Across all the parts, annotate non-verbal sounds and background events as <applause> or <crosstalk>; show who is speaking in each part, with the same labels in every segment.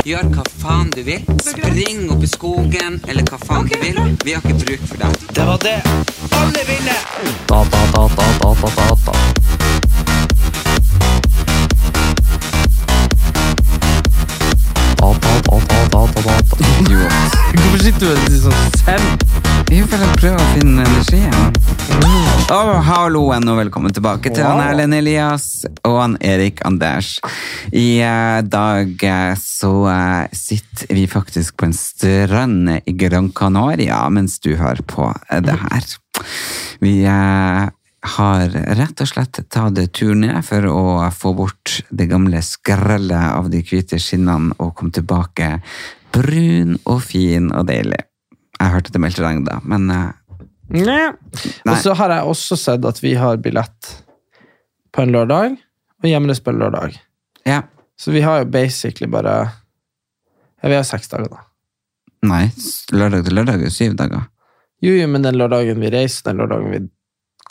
Speaker 1: Gjør hva faen du vil. Spring opp i skogen, eller hva faen du vil. Vi har ikke bruk for deg. Det var det alle ville!
Speaker 2: Jo. Hvorfor sitter du og er sånn selv? Jo, for jeg prøver å finne energien. Å, halloen, og velkommen tilbake til han Erlend Elias og han Erik Anders. I eh, dag eh, så eh, sitter vi faktisk på en strand i Gran Canaria mens du hører på eh, det her. Vi eh, har rett og slett tatt turen ned for å få bort det gamle skrellet av de hvite skinnene og komme tilbake brun og fin og deilig. Jeg hørte det meldte regn da, men eh,
Speaker 3: Og så har jeg også sett at vi har billett på en lørdag, og Hjemnes på en lørdag.
Speaker 2: ja.
Speaker 3: Så vi har jo basically bare Ja, vi har seks dager, da.
Speaker 2: Nei, s- lørdag til lørdag er syv dager.
Speaker 3: Jo, jo, men den lørdagen vi reiser, den lørdagen vi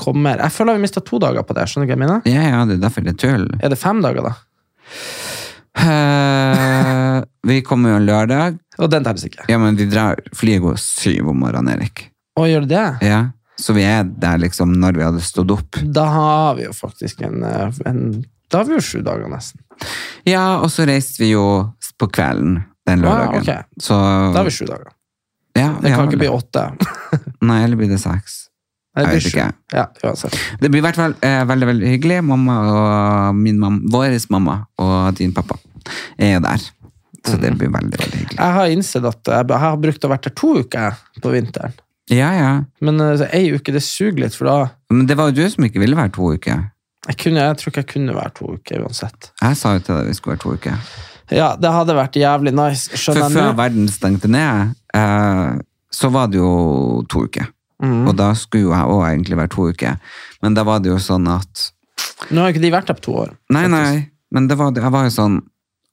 Speaker 3: kommer Jeg føler vi mista to dager på det. skjønner du hva jeg mener?
Speaker 2: Ja, ja, det er derfor det er tull.
Speaker 3: Er det fem dager, da?
Speaker 2: Eh, vi kommer jo en lørdag.
Speaker 3: Og den telles ikke.
Speaker 2: Ja, men vi drar, flyet går syv om morgenen, Erik.
Speaker 3: Å, gjør det det?
Speaker 2: Ja, så vi er der liksom når vi hadde stått opp.
Speaker 3: Da har vi jo faktisk en, eh, en Da har vi jo sju dager, nesten.
Speaker 2: Ja, og så reiste vi jo s- på kvelden den
Speaker 3: Ah,
Speaker 2: lørdagen.
Speaker 3: ok.
Speaker 2: Så
Speaker 3: Da har vi sju dager.
Speaker 2: ja, vi
Speaker 3: Det
Speaker 2: har
Speaker 3: kan ikke
Speaker 2: det.
Speaker 3: bli åtte.
Speaker 2: Nei, eller blir det seks?
Speaker 3: Nei, det
Speaker 2: Jeg vet
Speaker 3: blir sju.
Speaker 2: ikke.
Speaker 3: Ja, uansett.
Speaker 2: Det blir i hvert fall eh, veldig, veldig hyggelig. Mamma og min mamma, våres mamma og din pappa er jo der. Så
Speaker 3: Mhm.
Speaker 2: det blir veldig, veldig hyggelig.
Speaker 3: Jeg har innsett at jeg jeg har brukt å vært der to uker jeg, på vinteren.
Speaker 2: Ja, ja.
Speaker 3: Men eh, så ei uke, det suger litt, for da
Speaker 2: Men det var jo du som ikke ville være to uker.
Speaker 3: jeg, kunne, jeg tror ikke jeg kunne være to uker uansett.
Speaker 2: Jeg sa jo til deg vi skulle være to uker.
Speaker 3: Ja, det hadde vært jævlig nice.
Speaker 2: For
Speaker 3: Skjønner
Speaker 2: før
Speaker 3: jeg nå?
Speaker 2: verden stengte ned, eh, så var det jo to uker. Og da skulle jo jeg òg egentlig være to uker. Men da var det jo sånn at
Speaker 3: Nå har jo ikke de vært der på to år.
Speaker 2: Nei,
Speaker 3: faktisk.
Speaker 2: nei, men det var, jeg var jo sånn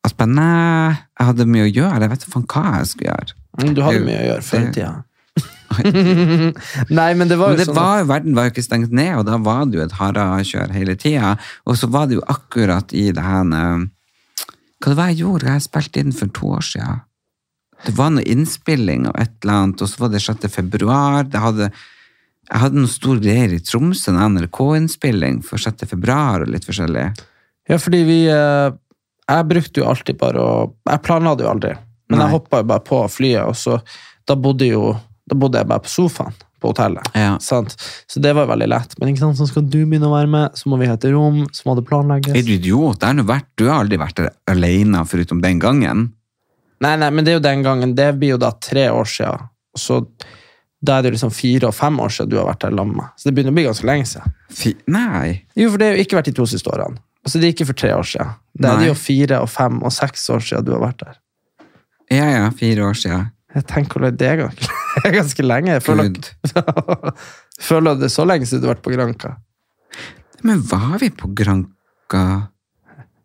Speaker 2: Aspen, nei, jeg hadde mye å gjøre. Jeg vet ikke faen hva jeg skulle gjøre.
Speaker 3: Men Du hadde
Speaker 2: Det-
Speaker 3: mye å gjøre før i
Speaker 2: det- <laughs>
Speaker 3: tida. nei, men det var
Speaker 2: Men
Speaker 3: jo
Speaker 2: det
Speaker 3: sånn
Speaker 2: var, jo- verden var jo ikke stengt ned, og da var det jo et harakjør hele tida. Og så var det jo akkurat i det her eh, Hva det var jeg gjorde? Jeg spilte inn for to år siden. Det var noe innspilling av et eller annet, og så var det 6. februar. Det hadde, jeg hadde noen store greier i Tromsø, en NRK-innspilling for 6. februar og litt forskjellig.
Speaker 3: Ja, fordi vi eh, Jeg brukte jo alltid bare å Jeg planla det jo aldri, men
Speaker 2: Nei.
Speaker 3: jeg hoppa jo bare på flyet, og så Da bodde jo Da bodde jeg bare på sofaen på hotellet.
Speaker 2: Ja.
Speaker 3: Sant? Så det var jo veldig lett. Men ikke sant, så skal du begynne å være med, så må vi ha et rom, så må det planlegges.
Speaker 2: Er du idiot? Jeg har nå vært, du har aldri vært alene foruten den gangen.
Speaker 3: Nei, nei, men det er jo den gangen. Det blir jo da tre år siden. Og så da er det jo liksom fire og fem år siden du har vært der sammen med meg. Så det begynner å bli ganske lenge siden.
Speaker 2: Fy, nei.
Speaker 3: Jo, for det har jo ikke vært de to siste årene. Altså, det er ikke for tre år siden. Det er
Speaker 2: Nei.
Speaker 3: det jo fire og fem og seks år siden du har vært der.
Speaker 2: Ja, ja, fire år siden.
Speaker 3: Jeg tenker at det er ganske, <laughs> det er ganske lenge. Jeg føler,
Speaker 2: Gud.
Speaker 3: føler at <laughs> det er så lenge siden du har vært på Granca.
Speaker 2: Men var vi på Granka?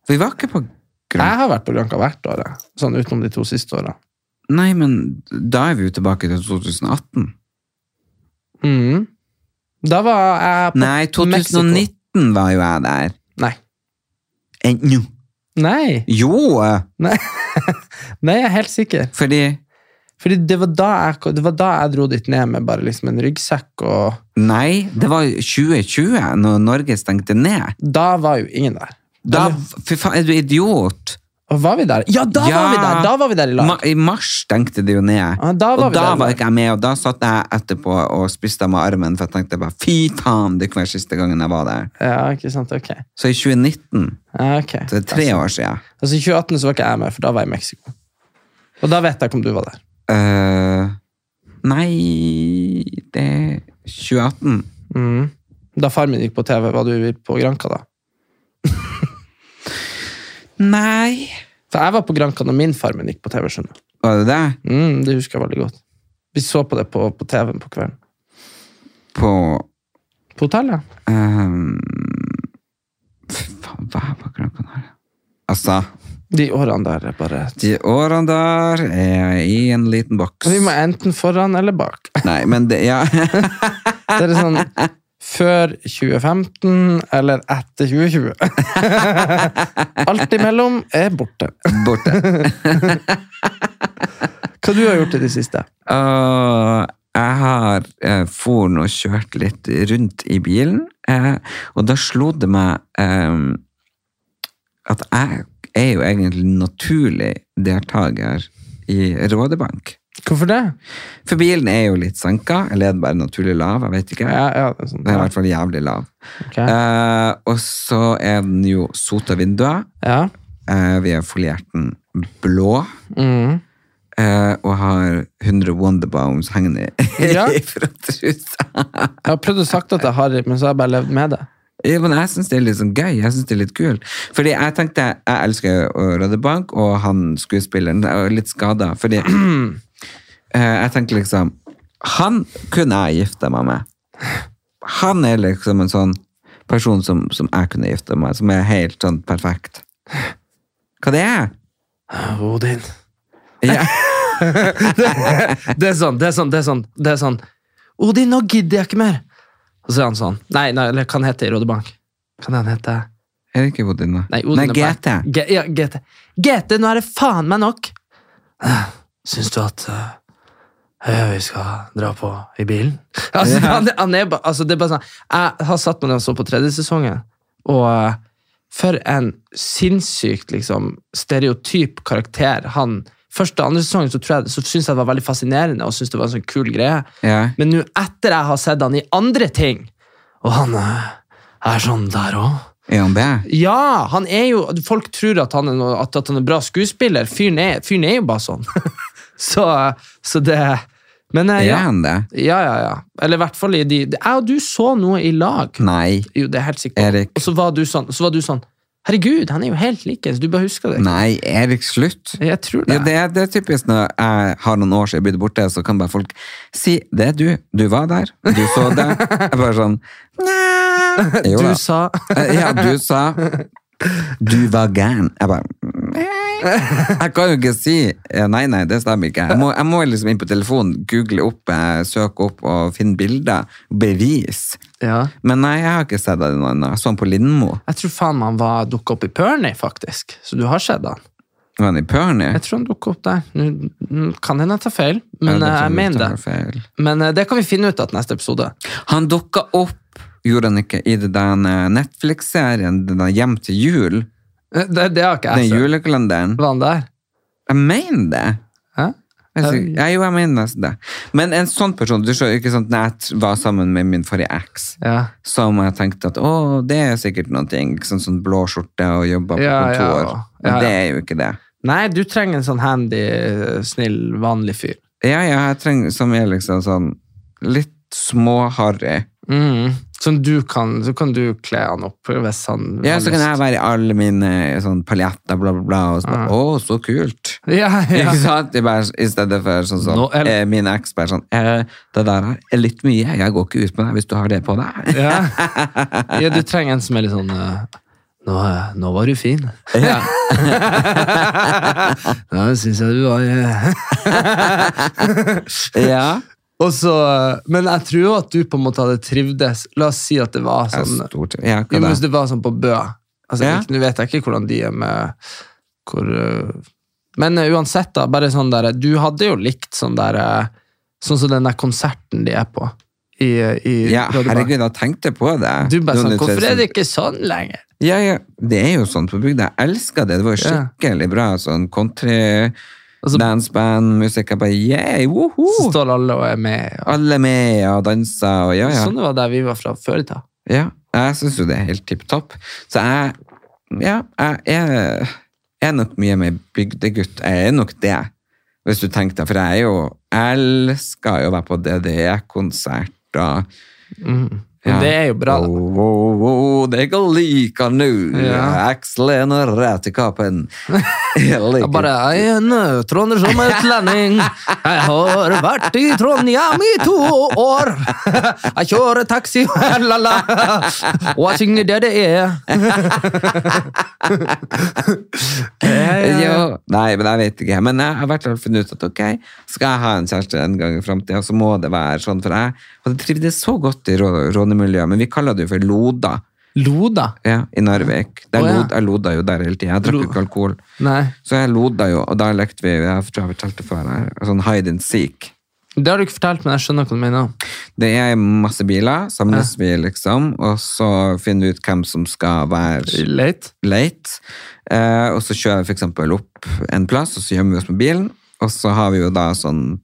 Speaker 2: Vi var ikke på Granka.
Speaker 3: Jeg har vært på Granca hvert år, jeg. sånn utenom de to siste åra.
Speaker 2: Nei, men da er vi jo tilbake til 2018.
Speaker 3: Mhm. Da var jeg på
Speaker 2: Nei, 2019
Speaker 3: Mexico.
Speaker 2: var jo jeg der.
Speaker 3: Nei.
Speaker 2: Ennå.
Speaker 3: Nei.
Speaker 2: Jo!
Speaker 3: Nei. Nei, jeg er helt sikker.
Speaker 2: Fordi
Speaker 3: Fordi det var da jeg, det var da jeg dro dit ned med bare liksom en ryggsekk, og
Speaker 2: Nei, det var 2020, når Norge stengte ned.
Speaker 3: da var jo ingen der.
Speaker 2: Da,
Speaker 3: Eller-
Speaker 2: fy faen, er du idiot?
Speaker 3: Og var vi der? Ja, da
Speaker 2: Ja.
Speaker 3: var vi der! Da var vi der i lag.
Speaker 2: Ma I mars stengte det jo ned.
Speaker 3: Ja, da var
Speaker 2: og
Speaker 3: vi
Speaker 2: da
Speaker 3: der.
Speaker 2: var ikke jeg med, og da satt jeg etterpå og spiste med armen, for jeg tenkte bare fy faen, det kunne være siste gangen jeg var der.
Speaker 3: ja, ikke sant? Ok.
Speaker 2: Så i 2019,
Speaker 3: Ja, ok.
Speaker 2: det er tre år siden.
Speaker 3: Altså, I 2018 så var ikke jeg med, for da var jeg i Mexico. Og da vet jeg ikke om du var der.
Speaker 2: Eh, nei, det er 2018.
Speaker 3: Da far min gikk på TV, var du på Granca da?
Speaker 2: Nei,
Speaker 3: For jeg var på Granca når min farmen gikk på TV. skjønner du.
Speaker 2: Var det det?
Speaker 3: Mm, det husker jeg veldig godt. Vi så på det på, på TV-en på kvelden.
Speaker 2: På
Speaker 3: På hotellet.
Speaker 2: ehm, Fy faen, hva var klokka der? Altså,
Speaker 3: De årene der er bare
Speaker 2: de årene der er jeg i en liten boks.
Speaker 3: Vi må enten foran eller bak.
Speaker 2: Nei, men det, ja. <laughs>
Speaker 3: Det er sånn før 2015 eller etter <laughs> 2020. Alt imellom er borte.
Speaker 2: Borte.
Speaker 3: Hva du har gjort i det siste?
Speaker 2: Og Eh, jeg har eh, foren og kjørt litt rundt i bilen, eh, og da slo det meg eh, at jeg er jo egentlig naturlig deltaker i Rådebank.
Speaker 3: Hvorfor det?
Speaker 2: For bilen er jo litt sanka, eller er den bare naturlig lav, jeg vet ikke.
Speaker 3: Ja, ja, det er sånn.
Speaker 2: Den er i hvert fall jævlig lav.
Speaker 3: Ok.
Speaker 2: Eh, og så er den jo sota vinduet,
Speaker 3: ja.
Speaker 2: eh, vi har foliert den blå,
Speaker 3: Mm.
Speaker 2: eh, og har 100 Wonderbombs hengende
Speaker 3: Ja.
Speaker 2: <laughs> i frontruta.
Speaker 3: Jeg har prøvd å sagt at jeg har det, men så har jeg bare levd med det.
Speaker 2: Ja, men jeg syns det er litt sånn gøy. Jeg synes det er litt kul. Fordi jeg tenkte Jeg elsker jo Røde Bank og han skuespilleren. Jeg er litt skada, fordi <clears throat> eh, Jeg tenker liksom Han kunne jeg gifta meg med. Han er liksom en sånn person som, som jeg kunne gifta meg med, som er helt sånn perfekt. Hva det er?
Speaker 3: Odin.
Speaker 2: Ja.
Speaker 3: <laughs> Det er sånn, det er sånn, det er sånn. Det er sånn. Odin, nå gidder jeg ikke mer! Og så er han sånn. Nei, nei eller hva han heter i Rådebank? Hva han heter?
Speaker 2: Er det ikke Odin, da?
Speaker 3: Nei, Odin er bare-
Speaker 2: GT.
Speaker 3: G ja, GT. GT, nå er det faen meg nok! Syns du at eh, vi skal dra på i bilen? <laughs> Altså, han, er- han er bare, altså, det er bare sånn Jeg har satt meg ned og så på tredje sesongen, og eh, for en sinnssykt liksom, stereotyp karakter han Første og andre sesongen så, tror jeg, så syntes jeg det var veldig fascinerende og syntes det var en sånn kul greie.
Speaker 2: Ja.
Speaker 3: Men nå etter jeg har sett han i andre ting, og han eh, er sånn der òg
Speaker 2: Er han det?
Speaker 3: ja, han er jo Folk tror at han er, noe, at, at han er bra skuespiller. Fyren er, fyren er jo bare sånn. <laughs> så, så det Men eh,
Speaker 2: Er
Speaker 3: ja.
Speaker 2: han det?
Speaker 3: ja, ja, ja. Eller i hvert fall i de de- Jeg og du så noe i lag.
Speaker 2: Nei.
Speaker 3: Jo, det er jeg helt sikkert.
Speaker 2: Erik.
Speaker 3: Og så var du sånn, så var du sånn Herregud, han er jo helt likens. Du bare husker det.
Speaker 2: Nei, Erik, slutt.
Speaker 3: Jeg tror det.
Speaker 2: Ja, det, er- det er typisk når jeg har noen år siden jeg begynte borte, så kan bare folk si det er du. Du var der. Du så det. Jeg bare sånn
Speaker 3: <laughs>
Speaker 2: Nei. Jo
Speaker 3: du
Speaker 2: da.
Speaker 3: sa
Speaker 2: Eh, Ja, du sa Du var gæren. Jeg bare «Nei». Jeg kan jo ikke si eh, Nei, nei, det stemmer ikke. Jeg må, jeg må liksom inn på telefonen, google opp, eh, søke opp og finne bilder. Bevis.
Speaker 3: Ja.
Speaker 2: Men nei, jeg har ikke sett deg i noe annet. Jeg så han på Lindmo.
Speaker 3: Jeg tror faen meg han var- dukket opp i Pernie, faktisk. Så du har sett han.
Speaker 2: Var han i Pernie?
Speaker 3: Jeg tror han dukket opp der. Nå nå kan hende jeg tar feil,
Speaker 2: Ja,
Speaker 3: men eh,
Speaker 2: tror
Speaker 3: jeg
Speaker 2: du
Speaker 3: mener
Speaker 2: tar
Speaker 3: det.
Speaker 2: feil.
Speaker 3: Men eh, det kan vi finne ut av til neste episode.
Speaker 2: Han dukka opp, gjorde han ikke, i det den eh, Netflix-serien den der Hjem til jul?
Speaker 3: Eh, Det, det har ikke
Speaker 2: Den
Speaker 3: jeg sett.
Speaker 2: julekalenderen?
Speaker 3: Var han der?
Speaker 2: Jeg mener det!
Speaker 3: Hæ?
Speaker 2: Jeg sy- ja, jo, jeg mener nesten det. Men en sånn person du ser, ikke sant, Når jeg var sammen med min forrige eks,
Speaker 3: Ja.
Speaker 2: som jeg tenkte at å, det er sikkert noe, ikke sant, sånn blå skjorte og jobba på
Speaker 3: Ja, ja,
Speaker 2: kontor.
Speaker 3: ja,
Speaker 2: Men
Speaker 3: ja.
Speaker 2: det er jo ikke det.
Speaker 3: Nei, du trenger en sånn handy, snill, vanlig fyr.
Speaker 2: Ja, ja, jeg trenger Som er liksom sånn litt småharry.
Speaker 3: Mm. Som du kan, så kan du kle han opp hvis han
Speaker 2: Ja,
Speaker 3: har
Speaker 2: så kan
Speaker 3: lyst.
Speaker 2: jeg være i alle mine sånn paljetter, bla, bla, bla, og så bare Å, så kult!
Speaker 3: Ja, <laughs>
Speaker 2: Ikke
Speaker 3: ja.
Speaker 2: sant? Det er bare, I stedet for sånn som
Speaker 3: Nå er-
Speaker 2: eh, min eks bare sånn eh, Det der er litt mye, jeg går ikke ut med deg hvis du har det på deg. <laughs>
Speaker 3: Ja. ja, du trenger en som er litt sånn eh, nå, eh, nå var du fin.
Speaker 2: Ja.
Speaker 3: <laughs> Ja, det syns jeg du var. eh. <laughs>
Speaker 2: ja.
Speaker 3: Og så, eh, men jeg tror jo at du på en måte hadde trivdes. La oss si at det var
Speaker 2: Jeg er
Speaker 3: sånn
Speaker 2: stort, ja
Speaker 3: Jo,
Speaker 2: hva
Speaker 3: men
Speaker 2: da?
Speaker 3: hvis det var sånn på Bø altså,
Speaker 2: Ja.
Speaker 3: ikke- Nå vet jeg ikke hvordan de er med hvor, øh, Men øh, uansett, da. Bare sånn der Du hadde jo likt sånn der øh, Sånn som den der konserten de er på i, øh, i
Speaker 2: ja,
Speaker 3: Rådebank.
Speaker 2: herregud, jeg tenkte på det.
Speaker 3: Du bare sånn
Speaker 2: Jonny
Speaker 3: Hvorfor er
Speaker 2: Tveitsen.
Speaker 3: det ikke sånn lenger?
Speaker 2: Ja, ja. Det er jo sånn på bygda. Jeg elsker det. Det var jo
Speaker 3: Ja.
Speaker 2: skikkelig bra. Sånn country,
Speaker 3: Altså-
Speaker 2: danceband, musikk. Jeg bare yeah,
Speaker 3: Så
Speaker 2: woho!
Speaker 3: står alle og er med. Ja.
Speaker 2: Alle med og danser og ja, ja.
Speaker 3: Sånn var der vi var fra før i tida.
Speaker 2: Ja, jeg syns jo det er helt tipp topp. Så jeg Ja, jeg er, er nok mye mer bygdegutt. Jeg er nok det, hvis du tenker deg. For jeg er jo jeg elsker jo å være på DDE-konsert og
Speaker 3: Men det er jo bra, da.
Speaker 2: Oh, oh, oh, det jeg liker nå.
Speaker 3: Ja.
Speaker 2: Akslene rett i
Speaker 3: <laughs>
Speaker 2: kappen. Jeg liker-
Speaker 3: Jeg bare jeg er en eh, trondheim som utlending. Jeg har vært i Trondheim i to år. <laughs> Jeg kjører taxi, <laughs> la-la. Og jeg synger det det er. <laughs>
Speaker 2: jo. Nei, men jeg vet ikke. Men jeg har i hvert fall funnet ut at ok, skal jeg ha en kjæreste en gang i framtida, så må det være sånn. For jeg hadde trivdes så godt i rå- rånemiljøet, men vi kaller det jo for Loda
Speaker 3: Loda?
Speaker 2: ja, i Narvik. Der
Speaker 3: Å, ja.
Speaker 2: lod, jeg loda jo der hele tida. Jeg drakk jo
Speaker 3: Lo-
Speaker 2: ikke alkohol.
Speaker 3: Nei.
Speaker 2: Så jeg loda jo, og da lekte vi jeg tror jeg har fortalt det før her, sånn hide and seek.
Speaker 3: Det har du ikke fortalt, men jeg skjønner hva du mener.
Speaker 2: Det er masse biler, samles vi liksom, og så finner vi ut hvem som skal være
Speaker 3: Late.
Speaker 2: leit. Eh, og så kjører vi for eksempel opp en plass, og så gjemmer vi oss på bilen. Og så har vi jo da sånn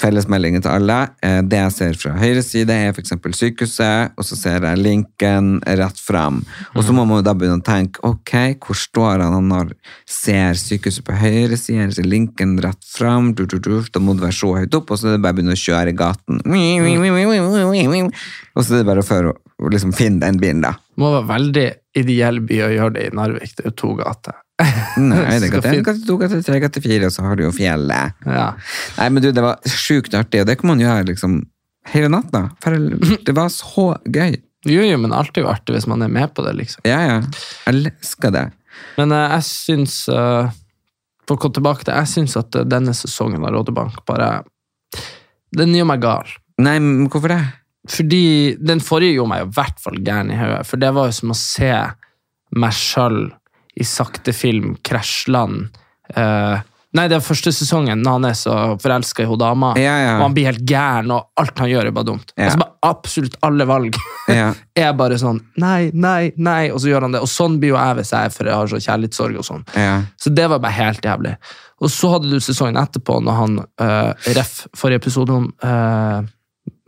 Speaker 2: fellesmeldinger til alle. Eh, det jeg ser fra høyre side, er for eksempel sykehuset, og så ser jeg linken rett fram. Og så må man jo da begynne å tenke, ok, hvor står han? Han har, ser sykehuset på høyre side, eller ser linken rett fram, du, du, du, da må det være så høyt opp, og så er det bare å begynne å kjøre i gaten. Og så er det bare å føre, å liksom finne den bilen da.
Speaker 3: Må være veldig ideell by å gjøre det i Narvik. Det er jo to gater. <laughs>
Speaker 2: Nei, det er
Speaker 3: Skal
Speaker 2: gate 1,
Speaker 3: finne-
Speaker 2: gate 2, gate 3, gate 4, og så har du jo fjellet.
Speaker 3: Ja.
Speaker 2: Nei, men du, det var sjukt artig, og det kan man gjøre liksom hele natta. For
Speaker 3: <laughs>
Speaker 2: det var så gøy.
Speaker 3: Jo, jo, men alltid jo artig hvis man er med på det, liksom.
Speaker 2: Ja, ja. Jeg elsker det.
Speaker 3: Men eh, jeg syns eh, For å komme tilbake til Jeg syns at eh, denne sesongen av Rådebank bare Den gjør meg gal.
Speaker 2: Nei, men hvorfor det?
Speaker 3: Fordi den forrige gjorde meg i hvert fall gæren i hodet. For det var jo som å se meg sjøl i sakte film krasjland. eh, nei, det er første sesongen når han er så forelska i hun dama.
Speaker 2: Ja, ja.
Speaker 3: Og han blir helt gæren, og alt han gjør, er bare dumt.
Speaker 2: Ja.
Speaker 3: Altså bare Absolutt alle valg
Speaker 2: Ja,
Speaker 3: er bare sånn nei, nei, nei, og så gjør han det. Og sånn blir jo jeg hvis jeg er for jeg har så kjærlighetssorg og sånn.
Speaker 2: ja.
Speaker 3: Så det var bare helt jævlig. Og så hadde du sesongen etterpå, når han uh, ref forrige episode om eh,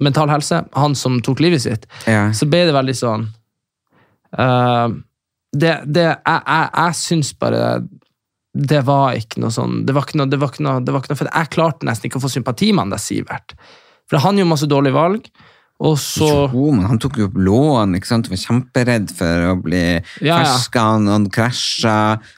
Speaker 3: mental helse, han som tok livet sitt,
Speaker 2: Ja.
Speaker 3: så ble det veldig sånn eh, Det, det Jeg, jeg, jeg syns bare det var ikke noe sånn det var ikke noe, det var ikke noe, det var ikke noe, For jeg klarte nesten ikke å få sympati med han der Sivert. For han gjorde masse dårlige valg, og så
Speaker 2: Jo, men han tok jo opp lån, ikke sant? Han var kjemperedd for å bli
Speaker 3: Ja, ja.
Speaker 2: ferska, han, han krasja,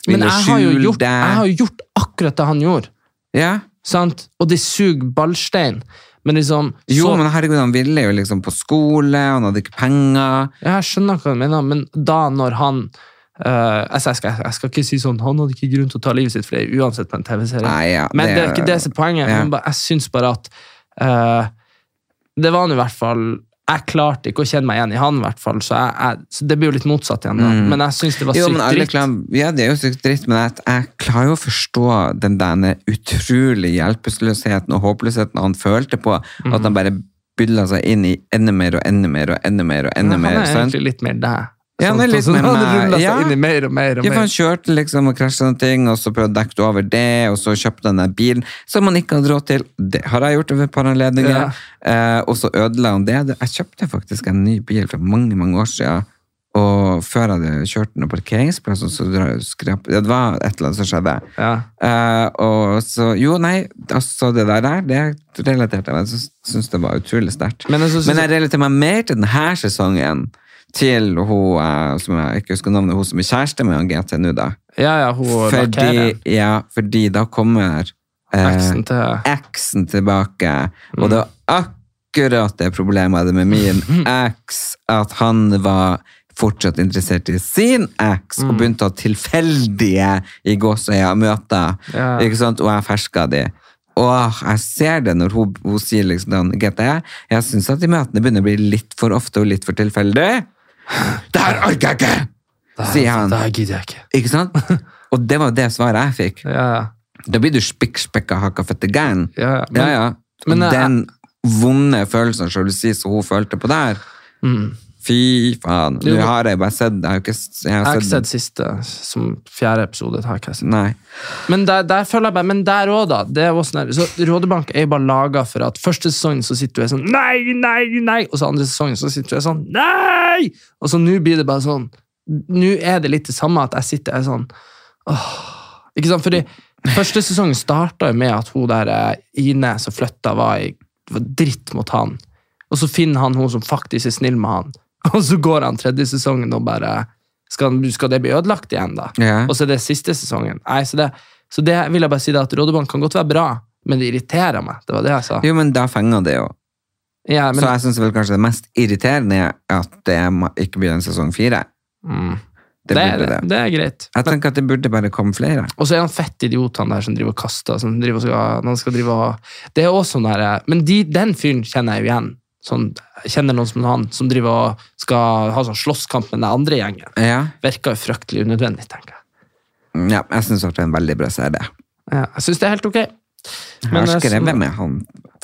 Speaker 3: Men
Speaker 2: ville
Speaker 3: jeg har, jo
Speaker 2: skjule
Speaker 3: gjort,
Speaker 2: det.
Speaker 3: jeg har jo gjort akkurat det han gjorde.
Speaker 2: Ja.
Speaker 3: Sant? Og det suger ballstein. Men liksom
Speaker 2: Jo,
Speaker 3: så,
Speaker 2: men herregud, han ville jo liksom på skole, han hadde ikke penger.
Speaker 3: Jeg skjønner hva du mener, men da når han eh, altså jeg, skal, jeg skal ikke si sånn Han hadde ikke grunn til å ta livet sitt, for det er uansett på en TV-serie.
Speaker 2: Nei, ja,
Speaker 3: Men
Speaker 2: det-
Speaker 3: det, er ikke det som er poenget.
Speaker 2: Ja.
Speaker 3: men bare- Jeg syns bare at eh, Det var han i hvert fall Jeg klarte ikke å kjenne meg igjen i han, i hvert fall, så, jeg, jeg, så det blir jo litt motsatt igjen. Da. Men jeg syns det var
Speaker 2: Jo, men
Speaker 3: sykt
Speaker 2: alle
Speaker 3: dritt.
Speaker 2: klar, ja, det er jo sykt dritt, men jeg, jeg klarer jo å forstå den derne utrolige hjelpeløsheten og håpløsheten han følte på, at
Speaker 3: Mhm.
Speaker 2: han bare bydla seg inn i enda mer og enda mer og enda mer og
Speaker 3: Men
Speaker 2: enda
Speaker 3: han
Speaker 2: mer.
Speaker 3: er
Speaker 2: sant?
Speaker 3: egentlig litt mer deg.
Speaker 2: Ja, han er
Speaker 3: Sånn-
Speaker 2: litt
Speaker 3: sånn-
Speaker 2: mer
Speaker 3: han
Speaker 2: meg,
Speaker 3: rullet seg
Speaker 2: ja.
Speaker 3: inn i mer og mer og
Speaker 2: Ja, for
Speaker 3: mer.
Speaker 2: han kjørte liksom og krasja noen ting, og så prøvde å dekke det over det, og så kjøpte han den bilen som han ikke hadde råd til. Det har jeg gjort over et par anledninger.
Speaker 3: Ja.
Speaker 2: Eh, og så ødela han det. Jeg kjøpte faktisk en ny bil for mange, mange år siden. Og før jeg hadde kjørt den på parkeringsplassen, så dra- skrap... Ja, det var et eller annet som skjedde.
Speaker 3: Ja.
Speaker 2: Eh, og så, jo, nei, altså det der, der det relaterte jeg meg. Jeg syns det var utrolig sterkt.
Speaker 3: Men jeg synes-
Speaker 2: Men jeg relaterer meg mer til denne sesongen, til hun eh, som jeg ikke husker navnet, hun som er kjæreste med han GT nå, da.
Speaker 3: Ja, ja, hun
Speaker 2: Fordi,
Speaker 3: lakkerer
Speaker 2: ja, fordi da kommer eh,
Speaker 3: eksen til
Speaker 2: eksen tilbake,
Speaker 3: Mm.
Speaker 2: og det var akkurat det problemet jeg hadde med
Speaker 3: <laughs>
Speaker 2: min eks, at han var fortsatt interessert i sin eks,
Speaker 3: Mm.
Speaker 2: og begynte å ha tilfeldige i gåsøya møter,
Speaker 3: Ja.
Speaker 2: ikke sant, og jeg ferska de. Åh, jeg ser det når hun, hun sier liksom den, GT, jeg synes at de møtene begynner å bli litt for ofte og litt for
Speaker 3: <gasps>
Speaker 2: tilfeldig. Det her orker jeg ikke! Sier han.
Speaker 3: Det her gidder jeg ikke.
Speaker 2: Ikke
Speaker 3: <laughs>
Speaker 2: sant? Og det var det svaret jeg fikk.
Speaker 3: Ja, ja.
Speaker 2: Da blir du spikkspekka hakka fette gæren.
Speaker 3: Ja, ja. Men-
Speaker 2: ja, ja.
Speaker 3: men eh, jeg-
Speaker 2: Den vonde følelsen av sjalusi som hun følte på der. Fy faen.
Speaker 3: Mm. Jo,
Speaker 2: Nå
Speaker 3: men-
Speaker 2: har jeg bare sett Jeg har ikke s- jeg har
Speaker 3: Jeg har ikke
Speaker 2: sett
Speaker 3: sett siste som fjerde episode. Har ikke jeg sett.
Speaker 2: Nei.
Speaker 3: Men der, der føler jeg bare, men der òg, da. Det er også sånn her- så Rådebank er jo bare laga for at første sesongen så sitter du og er sånn Nei, nei, nei! Og så andre sesongen så sitter du og er sånn Nei! Og så nå blir det bare sånn Nå er det litt det samme at jeg sitter og er sånn Åh. Ikke sant? Fordi første sesongen starta jo med at hun der eh, Ine som flytta, var, i- var dritt mot han. <laughs> Og så finner han hun som faktisk er snill med han. Og så går han tredje sesongen og bare Skal, skal det bli ødelagt igjen, da?
Speaker 2: Ja.
Speaker 3: Og så er det siste sesongen. Nei, så det, så det vil jeg bare si da, at Rådebanen kan godt være bra, men det irriterer meg. Det var det jeg sa.
Speaker 2: Jo, men da fenger det jo.
Speaker 3: Ja, men,
Speaker 2: Så jeg syns vel kanskje det mest irriterende er at det må- ikke blir en sesong fire.
Speaker 3: mm,
Speaker 2: Det
Speaker 3: det,
Speaker 2: burde
Speaker 3: det,
Speaker 2: det.
Speaker 3: det er greit.
Speaker 2: Jeg tenker at det burde bare komme flere.
Speaker 3: Og så er han fett idiot, han der som driver og kaster. Som driver og skal, han skal drive og, det er også sånn der, Men de, den fyren kjenner jeg jo igjen. Sånn, jeg kjenner noen som han, som driver og skal ha sånn slåsskamp med den andre gjengen.
Speaker 2: Ja,
Speaker 3: Virker jo fryktelig unødvendig, tenker jeg.
Speaker 2: ja jeg syns det er en veldig bra serie.
Speaker 3: Ja, jeg syns det er helt ok.
Speaker 2: Jeg
Speaker 3: Men,
Speaker 2: har
Speaker 3: eh,
Speaker 2: skrevet
Speaker 3: så-
Speaker 2: med han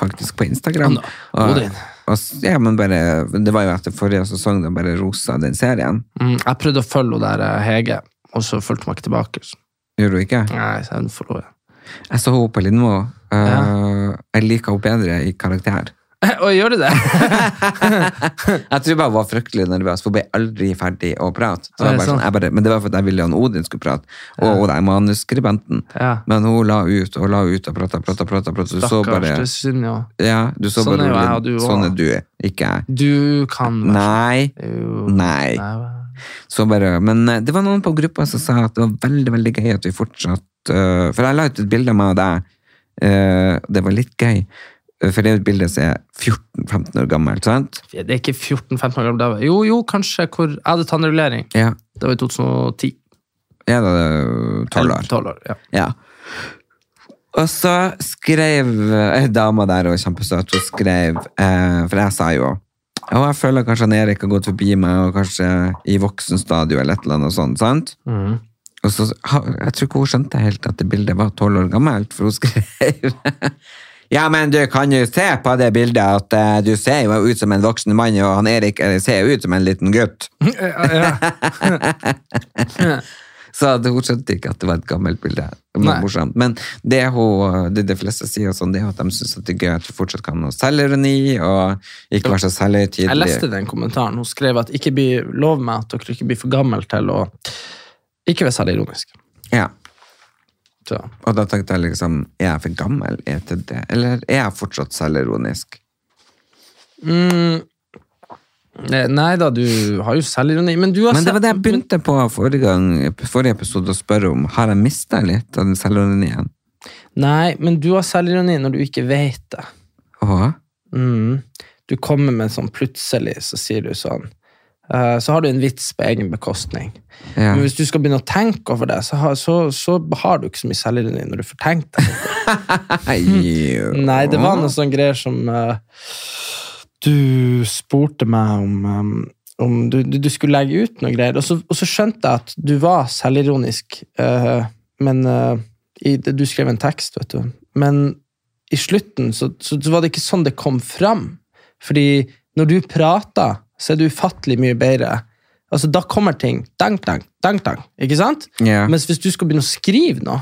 Speaker 2: faktisk på Instagram.
Speaker 3: Han da, Odin.
Speaker 2: og s- ja, men bare, det var jo etter forrige sesong da bare rosa den serien.
Speaker 3: Mm, jeg prøvde å følge hun der eh, Hege, og så fulgte hun ikke tilbake. Så.
Speaker 2: Gjorde du ikke?
Speaker 3: Nei, så hun forlor jeg.
Speaker 2: Jeg så henne på Lindmo. eh, Jeg liker henne bedre i karakter.
Speaker 3: <laughs> Å, gjør du det?
Speaker 2: Jeg tror bare hun var fryktelig nervøs, for hun ble aldri ferdig å prate. Så
Speaker 3: Er
Speaker 2: jeg
Speaker 3: det
Speaker 2: bare
Speaker 3: sant?
Speaker 2: sånn, jeg bare, men det var fordi jeg ville han Odin skulle prate, og, og den manuskribenten.
Speaker 3: <laughs> Ja.
Speaker 2: Men hun la ut og la ut og prata, prata, prata. prata. Du så
Speaker 3: Stakkars,
Speaker 2: bare,
Speaker 3: det synd jo.
Speaker 2: ja, du så
Speaker 3: Sånn
Speaker 2: bare
Speaker 3: er jo jeg
Speaker 2: Odin.
Speaker 3: og du også.
Speaker 2: Sånn er du, ikke jeg.
Speaker 3: Du kan
Speaker 2: Nei.
Speaker 3: Jo.
Speaker 2: Nei.
Speaker 3: Nei.
Speaker 2: Så bare, men eh, det var noen på gruppa som sa at det var veldig veldig gøy at vi fortsatt eh, For jeg la ut et bilde av meg og deg. eh, det var litt gøy. eh, For det er jo et bilde som er 14-15 år gammelt, sant?
Speaker 3: Det er ikke 14-15 år gammel. da var- Jo, jo, kanskje. Hvor, jeg hadde tannregulering.
Speaker 2: Ja.
Speaker 3: Det var i 2010.
Speaker 2: Er det eh, 12 år?
Speaker 3: 12 år ja.
Speaker 2: Ja. Og så skrev eh, ei dame der, og kjempesøt, hun skrev eh, For jeg sa jo Og jeg føler kanskje han Erik har gått forbi meg, og kanskje i voksen stadio eller et eller annet sånt. sant?
Speaker 3: Mm.
Speaker 2: Og så, ha- Jeg tror ikke hun skjønte helt at det bildet var tolv år gammelt, for hun skrev <laughs> Ja, men du kan jo se på det bildet at eh, du ser jo ut som en voksen mann, og han Erik eh, ser jo ut som en liten
Speaker 3: <laughs>
Speaker 2: gutt.
Speaker 3: Eh,
Speaker 2: <laughs> Så det, hun skjønte ikke at det var et gammelt bilde. Det var
Speaker 3: Nei.
Speaker 2: morsomt. Men det, hun, det de fleste sier, og sånn, det er at de syns det er gøy at du fortsatt kan ha selvironi, og ikke være så
Speaker 3: Jeg leste
Speaker 2: selvhøytidelig.
Speaker 3: den kommentaren. Hun skrev at ikke bli, lov meg at dere ikke blir for gammel til å ikke være særlig ironisk.
Speaker 2: Ja.
Speaker 3: Så.
Speaker 2: Og da tenkte jeg liksom, er jeg for gammel er jeg til det? Eller er jeg fortsatt selvironisk?
Speaker 3: mm. Eh, Nei da, du har jo selvironi. Men du har
Speaker 2: Men det var det jeg
Speaker 3: sett-
Speaker 2: begynte på forrige, gang, forrige episode å spørre om. Har jeg mista litt av den selvironien?
Speaker 3: Nei, men du har selvironi når du ikke vet det.
Speaker 2: Åh,
Speaker 3: Mm. Du kommer med sånn plutselig, så sier du sånn eh, Så har du en vits på egen bekostning.
Speaker 2: ja.
Speaker 3: Men hvis du skal begynne å tenke over det, så har, så, så har du ikke så mye selvironi når du får tenkt det.
Speaker 2: Jo.
Speaker 3: Nei, det var noen sånne greier som eh, Du spurte meg om, eh, om du, du, du skulle legge ut noen greier, og så, og så skjønte jeg at du var selvironisk, eh, men eh, i, det- Du skrev en tekst, vet du. Men i slutten så, så, så var det ikke sånn det kom fram. Fordi når du prater, så er du ufattelig mye bedre. Altså, Da kommer ting. Dang, dang, dang, dang. Ikke sant?
Speaker 2: Ja.
Speaker 3: Mens hvis du skal begynne å skrive noe,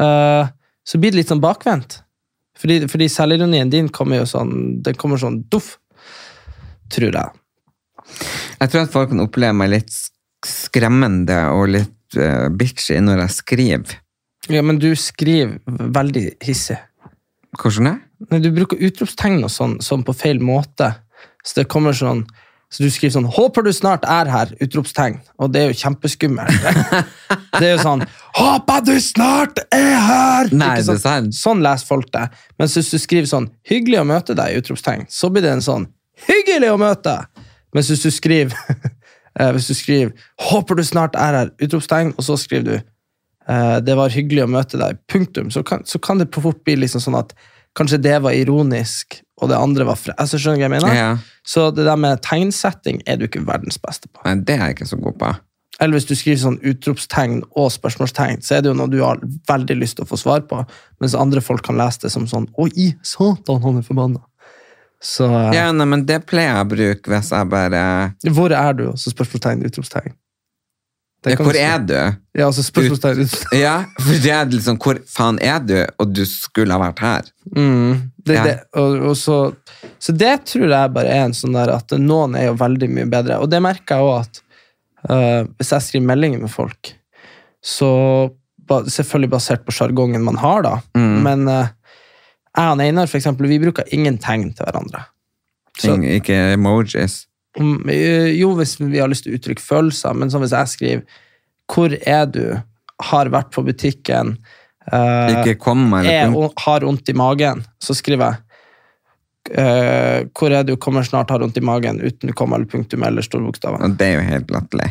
Speaker 3: eh, så blir det litt sånn bakvendt. Fordi, fordi selvironien din kommer jo sånn Den kommer sånn duff, tror jeg.
Speaker 2: Jeg tror at folk kan oppleve meg litt sk- skremmende og litt eh, bitchy når jeg skriver.
Speaker 3: Ja, Men du skriver veldig hissig.
Speaker 2: Hvordan det?
Speaker 3: Nei, du bruker utropstegn og sånn, sånn på feil måte. Så det kommer sånn så du skriver sånn 'Håper du snart er her!' utropstegn. Og det er jo kjempeskummelt. <laughs> det er jo sånn 'Håper du snart er her!'
Speaker 2: Nei, det
Speaker 3: Ikke
Speaker 2: er sant.
Speaker 3: Sånn leser folk det. Mens hvis du skriver sånn 'Hyggelig å møte deg!' utropstegn, så blir det en sånn 'Hyggelig å møte!' Mens hvis du skriver <laughs> eh, Hvis du skriver 'Håper du snart er her!' utropstegn, og så skriver du Eh, det var hyggelig å møte deg, punktum, så kan, så kan det fort bli liksom sånn at kanskje det var ironisk, og det andre var fre... Altså, skjønner du hva jeg mener?
Speaker 2: Ja.
Speaker 3: Så det der med tegnsetting er du ikke verdens beste på.
Speaker 2: Nei, det er jeg ikke så god på.
Speaker 3: Eller hvis du skriver sånn utropstegn og spørsmålstegn, så er det jo noe du har veldig lyst til å få svar på, mens andre folk kan lese det som sånn Å, i satan, han er forbanna. Så eh,
Speaker 2: Ja, nei, men det pleier jeg å bruke hvis jeg bare
Speaker 3: Hvor er du? Og så spørsmålstegn, utropstegn. Det
Speaker 2: ja,
Speaker 3: kan
Speaker 2: Hvor
Speaker 3: du si.
Speaker 2: er du?
Speaker 3: Ja, altså spørsmålstegn, utropstegn.
Speaker 2: Ja, for det er liksom Hvor faen er du? Og du skulle ha vært her.
Speaker 3: Mm, det,
Speaker 2: Ja.
Speaker 3: det, og, og så, så det tror jeg bare er en sånn der at noen er jo veldig mye bedre. Og det merker jeg òg at øh, hvis jeg skriver meldinger med folk, så ba, Selvfølgelig basert på sjargongen man har, da. Men øh, jeg og Einar for eksempel, vi bruker ingen tegn til hverandre. Så-
Speaker 2: Ing- Ikke emojis.
Speaker 3: om, eh, Jo, hvis vi har lyst til å uttrykke følelser, men sånn hvis jeg skriver 'Hvor er du?' Har vært på butikken. eh,
Speaker 2: Ikke kom, eller
Speaker 3: er,
Speaker 2: kom.
Speaker 3: on- har vondt i magen, så skriver jeg eh, hvor er du, kommer snart, har vondt i magen, uten komma eller punktum eller storbokstaver.
Speaker 2: Og det er jo helt latterlig.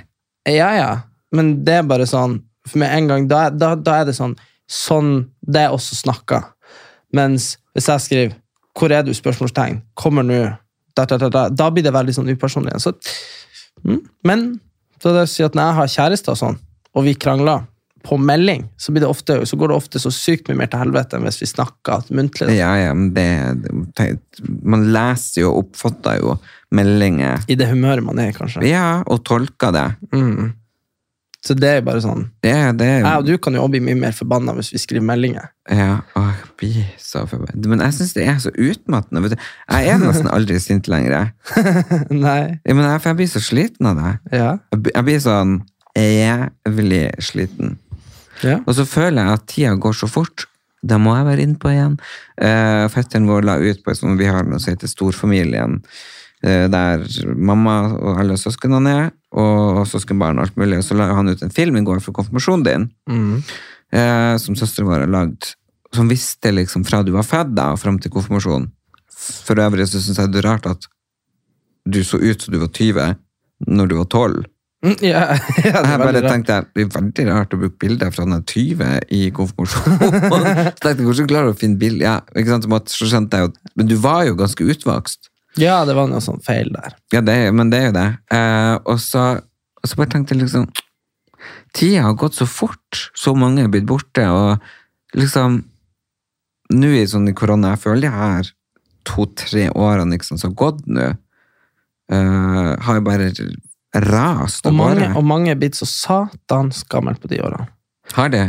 Speaker 3: Ja, ja, men det er bare sånn, for med en gang, da, da, da er det sånn, sånn, det er også snakka. Mens hvis jeg skriver, hvor er du, spørsmålstegn, kommer nå, da, da, da, da, da blir det veldig sånn upersonlig. igjen. Så, mm, men, så det å si at når jeg har kjæreste og sånn, og vi krangler på melding, så, blir det ofte, så går det ofte så sykt mye mer til helvete enn hvis vi snakker muntlig. da.
Speaker 2: Ja, ja, men det Man leser jo og oppfatter jo meldinger.
Speaker 3: I det humøret man er, kanskje.
Speaker 2: Ja, og tolker det.
Speaker 3: Mm. Så det er bare sånn.
Speaker 2: Ja, det er jo
Speaker 3: Jeg og du kan jo også bli mye mer forbanna hvis vi skriver meldinger. <laughs>
Speaker 2: Ja, å, jeg blir så forbannet. Men jeg syns det er så utmattende. Vet du. Jeg er nesten aldri sint lenger. jeg.
Speaker 3: Nei.
Speaker 2: Ja, men jeg, for jeg blir så sliten av det.
Speaker 3: Ja.
Speaker 2: Jeg blir- jeg blir sånn jævlig sliten.
Speaker 3: Ja.
Speaker 2: Og så føler jeg at tida går så fort. Da må jeg være innpå igjen. Eh, Fetteren vår la ut på et sånt vi har noe som heter Storfamilien, eh, der mamma og alle søsknene er, og søskenbarn og alt mulig. Og så la han ut en film i går for konfirmasjonen din. eh, som søsteren vår har lagd, som visste liksom fra du var født da, og fram til konfirmasjonen. For øvrig så syns jeg det er rart at du så ut som du var 20 når du var 12.
Speaker 3: Mm, ja. <laughs> ja det
Speaker 2: Jeg
Speaker 3: er
Speaker 2: bare
Speaker 3: veldig rart.
Speaker 2: tenkte det er veldig rart å bruke bilder fra den er 20 i
Speaker 3: <laughs>
Speaker 2: konfirmasjonen. så tenkte jeg, hvordan klarer du å finne bilder? Ja, ikke sant? Så måtte- Så skjønte jeg jo, men du var jo ganske utvokst.
Speaker 3: ja, det var noe sånn feil der.
Speaker 2: Ja, det, er- men det er jo det. Eh, og, så, og så bare tenkte jeg liksom, tida har gått så fort, så mange er blitt borte, og liksom, nå i sånn i korona, jeg føler jeg her to-tre årene liksom, som har gått nå, eh, har jo bare rast
Speaker 3: Og
Speaker 2: av
Speaker 3: mange,
Speaker 2: gårde.
Speaker 3: og mange er blitt så satans gammel på de årene.
Speaker 2: Har det?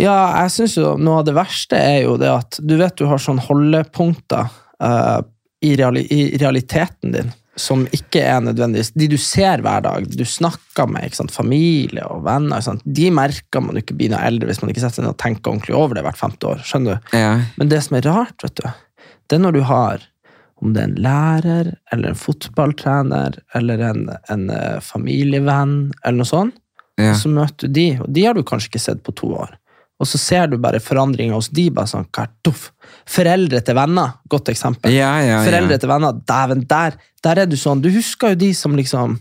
Speaker 3: Ja, jeg synes jo noe av det verste er jo det at du vet du har sånne holdepunkter eh, i, reali i realiteten din som ikke er nødvendigvis De du ser hver dag, de du snakker med, ikke sant? familie og venner, ikke sant? de merker man jo ikke blir noe eldre hvis man ikke setter seg ned og tenker ordentlig over det hvert femte år. skjønner du?
Speaker 2: Ja.
Speaker 3: Men det som er rart, vet du, det er når du har om det er en lærer, eller en fotballtrener, eller en, en eh, familievenn, eller noe sånt,
Speaker 2: Ja.
Speaker 3: og så møter du de, og de har du kanskje ikke sett på to år. Og så ser du bare forandringer hos de, bare sånn, kartoff. Foreldre til venner, godt eksempel.
Speaker 2: Ja, ja, ja.
Speaker 3: Foreldre til venner, dæven, der, der er du sånn, du husker jo de som liksom,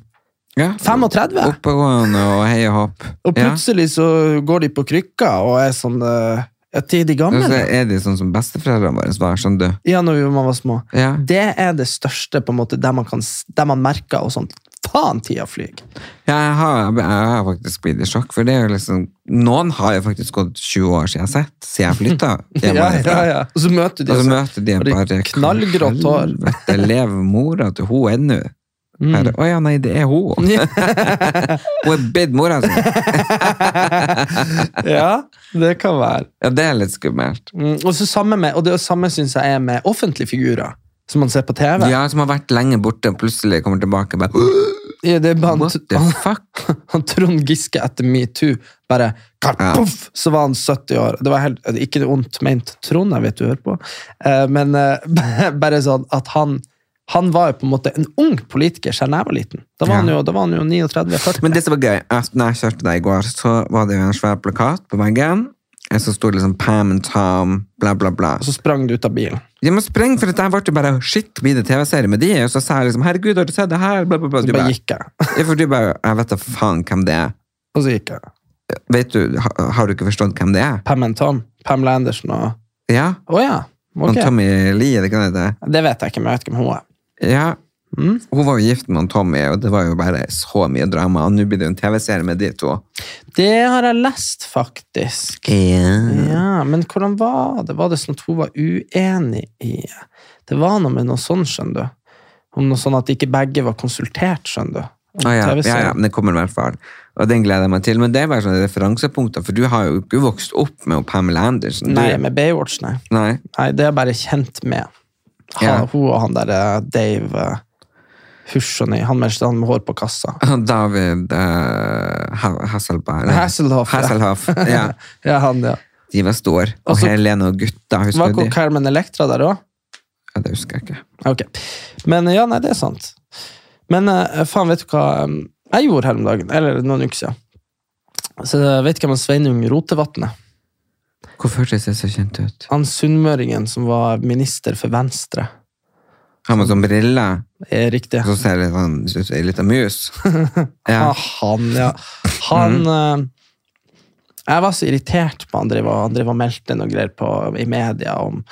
Speaker 2: ja.
Speaker 3: 35,
Speaker 2: Oppegående og hei og hopp.
Speaker 3: og plutselig så går de på krykker, og er sånn, eh, ja, de er de
Speaker 2: Ja. Og så
Speaker 3: gamle.
Speaker 2: er de sånn som besteforeldrene våre var, skjønner du.
Speaker 3: Ja, når vi- man var små.
Speaker 2: Ja.
Speaker 3: Det er det største, på en måte, der man, kan, s- der man merker og sånn, faen, tida flyg.
Speaker 2: Ja, jeg har, jeg har faktisk blitt i sjokk, for det er jo liksom Noen har jo faktisk gått 20 år siden jeg har sett, siden jeg flytta
Speaker 3: <laughs>
Speaker 2: hjemmefra.
Speaker 3: Og så møter du de,
Speaker 2: Og så
Speaker 3: og så-
Speaker 2: møter de en
Speaker 3: Har de
Speaker 2: bare
Speaker 3: knallgrått hår? Mm.
Speaker 2: Helvete, lever mora til hun ennå? Bare, Å ja, nei, det er hun.
Speaker 3: Ja.
Speaker 2: <laughs> Hun er bitt mora si.
Speaker 3: ja, det kan være.
Speaker 2: Ja, det er litt skummelt.
Speaker 3: Mm, og, så samme med, og det samme syns jeg er med offentlige figurer som man ser på TV.
Speaker 2: Ja, som har vært lenge borte, og plutselig kommer tilbake og bare
Speaker 3: Ja, det er bare
Speaker 2: What the
Speaker 3: han, han, <laughs> han Trond Giske etter metoo bare karpoff, Så var han 70 år. Det var helt, ikke noe ondt ment, Trond, jeg vet du hører på, Eh, men eh, <laughs> bare sånn at han han var jo på en måte en ung politiker selv da jeg var liten. Da var
Speaker 2: Ja.
Speaker 3: han jo, da var han jo 39-40.
Speaker 2: Men det som var gøy, at når jeg kjørte deg i går, så var det jo en svær plakat på veggen. Og så sto det liksom Pam and Tom, bla, bla, bla.
Speaker 3: Og så sprang du ut av bilen.
Speaker 2: Jeg må spreng, for at jeg ble jo bare shit, blir det TV-serie med de? Og så sa jeg liksom, herregud, har du sett det her? Bla, bla, bla.
Speaker 3: Så
Speaker 2: Du
Speaker 3: bare
Speaker 2: bare,
Speaker 3: gikk jeg.
Speaker 2: ja, for du bare, jeg vet da faen hvem det er.
Speaker 3: Og så gikk jeg.
Speaker 2: Vet du, ha- har du ikke forstått hvem det er?
Speaker 3: Pam and Tom. Pamela Andersen og
Speaker 2: Ja,
Speaker 3: Å ja.
Speaker 2: og
Speaker 3: Ok.
Speaker 2: Tommy Lee, er det kan hete.
Speaker 3: Det vet jeg ikke, men jeg vet ikke hvem hun er.
Speaker 2: Ja,
Speaker 3: Mm.
Speaker 2: hun var jo gift med han Tommy, og det var jo bare så mye drama, og nå blir det jo en TV-serie med de to.
Speaker 3: Det har jeg lest, faktisk.
Speaker 2: Ja.
Speaker 3: Ja, Men hvordan var det? Var det sånn at hun var uenig i Det var noe med noe sånn, skjønner du. Om noe sånn at ikke begge var konsultert, skjønner du.
Speaker 2: Å
Speaker 3: Om
Speaker 2: Ah, ja, ja,
Speaker 3: TV-serien.
Speaker 2: ja, men det kommer i hvert fall. Og den gleder jeg meg til. Men det er bare sånne referansepunkter, for du har jo ikke vokst opp med Pamela Andersen. du.
Speaker 3: Nei, med Baywatch, nei.
Speaker 2: Nei.
Speaker 3: nei. Det er jeg bare kjent med. Han,
Speaker 2: Ja.
Speaker 3: Hun og han derre Dave eh, Hushony, han med, han med hår på kassa.
Speaker 2: David eh, Ha- Hasselberg. nei.
Speaker 3: Hasselhoff, ja.
Speaker 2: Hasselhoff,
Speaker 3: <laughs>
Speaker 2: ja.
Speaker 3: Ja, han, ja.
Speaker 2: De var store. Og
Speaker 3: Altså-
Speaker 2: Helene og gutta,
Speaker 3: Var
Speaker 2: husker du
Speaker 3: ikke
Speaker 2: de?
Speaker 3: Carmen Electra der òg?
Speaker 2: Ja, det husker jeg ikke.
Speaker 3: Ok. Men ja, nei, det er sant. Men eh, faen, vet du hva eh, jeg gjorde her om dagen? Eller noen uker siden. Så jeg vet hvem han Sveinung Rotevatn er?
Speaker 2: Hvorfor hørtes det så kjent ut?
Speaker 3: Han sunnmøringen som var minister for Venstre.
Speaker 2: Har man sånn briller,
Speaker 3: Er riktig.
Speaker 2: så ser det sånn ut som ei lita mus?
Speaker 3: <laughs>
Speaker 2: Ja.
Speaker 3: Ah, han, ja. Han eh, Jeg var så irritert på han drev, og- han drev og meldte noe greier på, i media om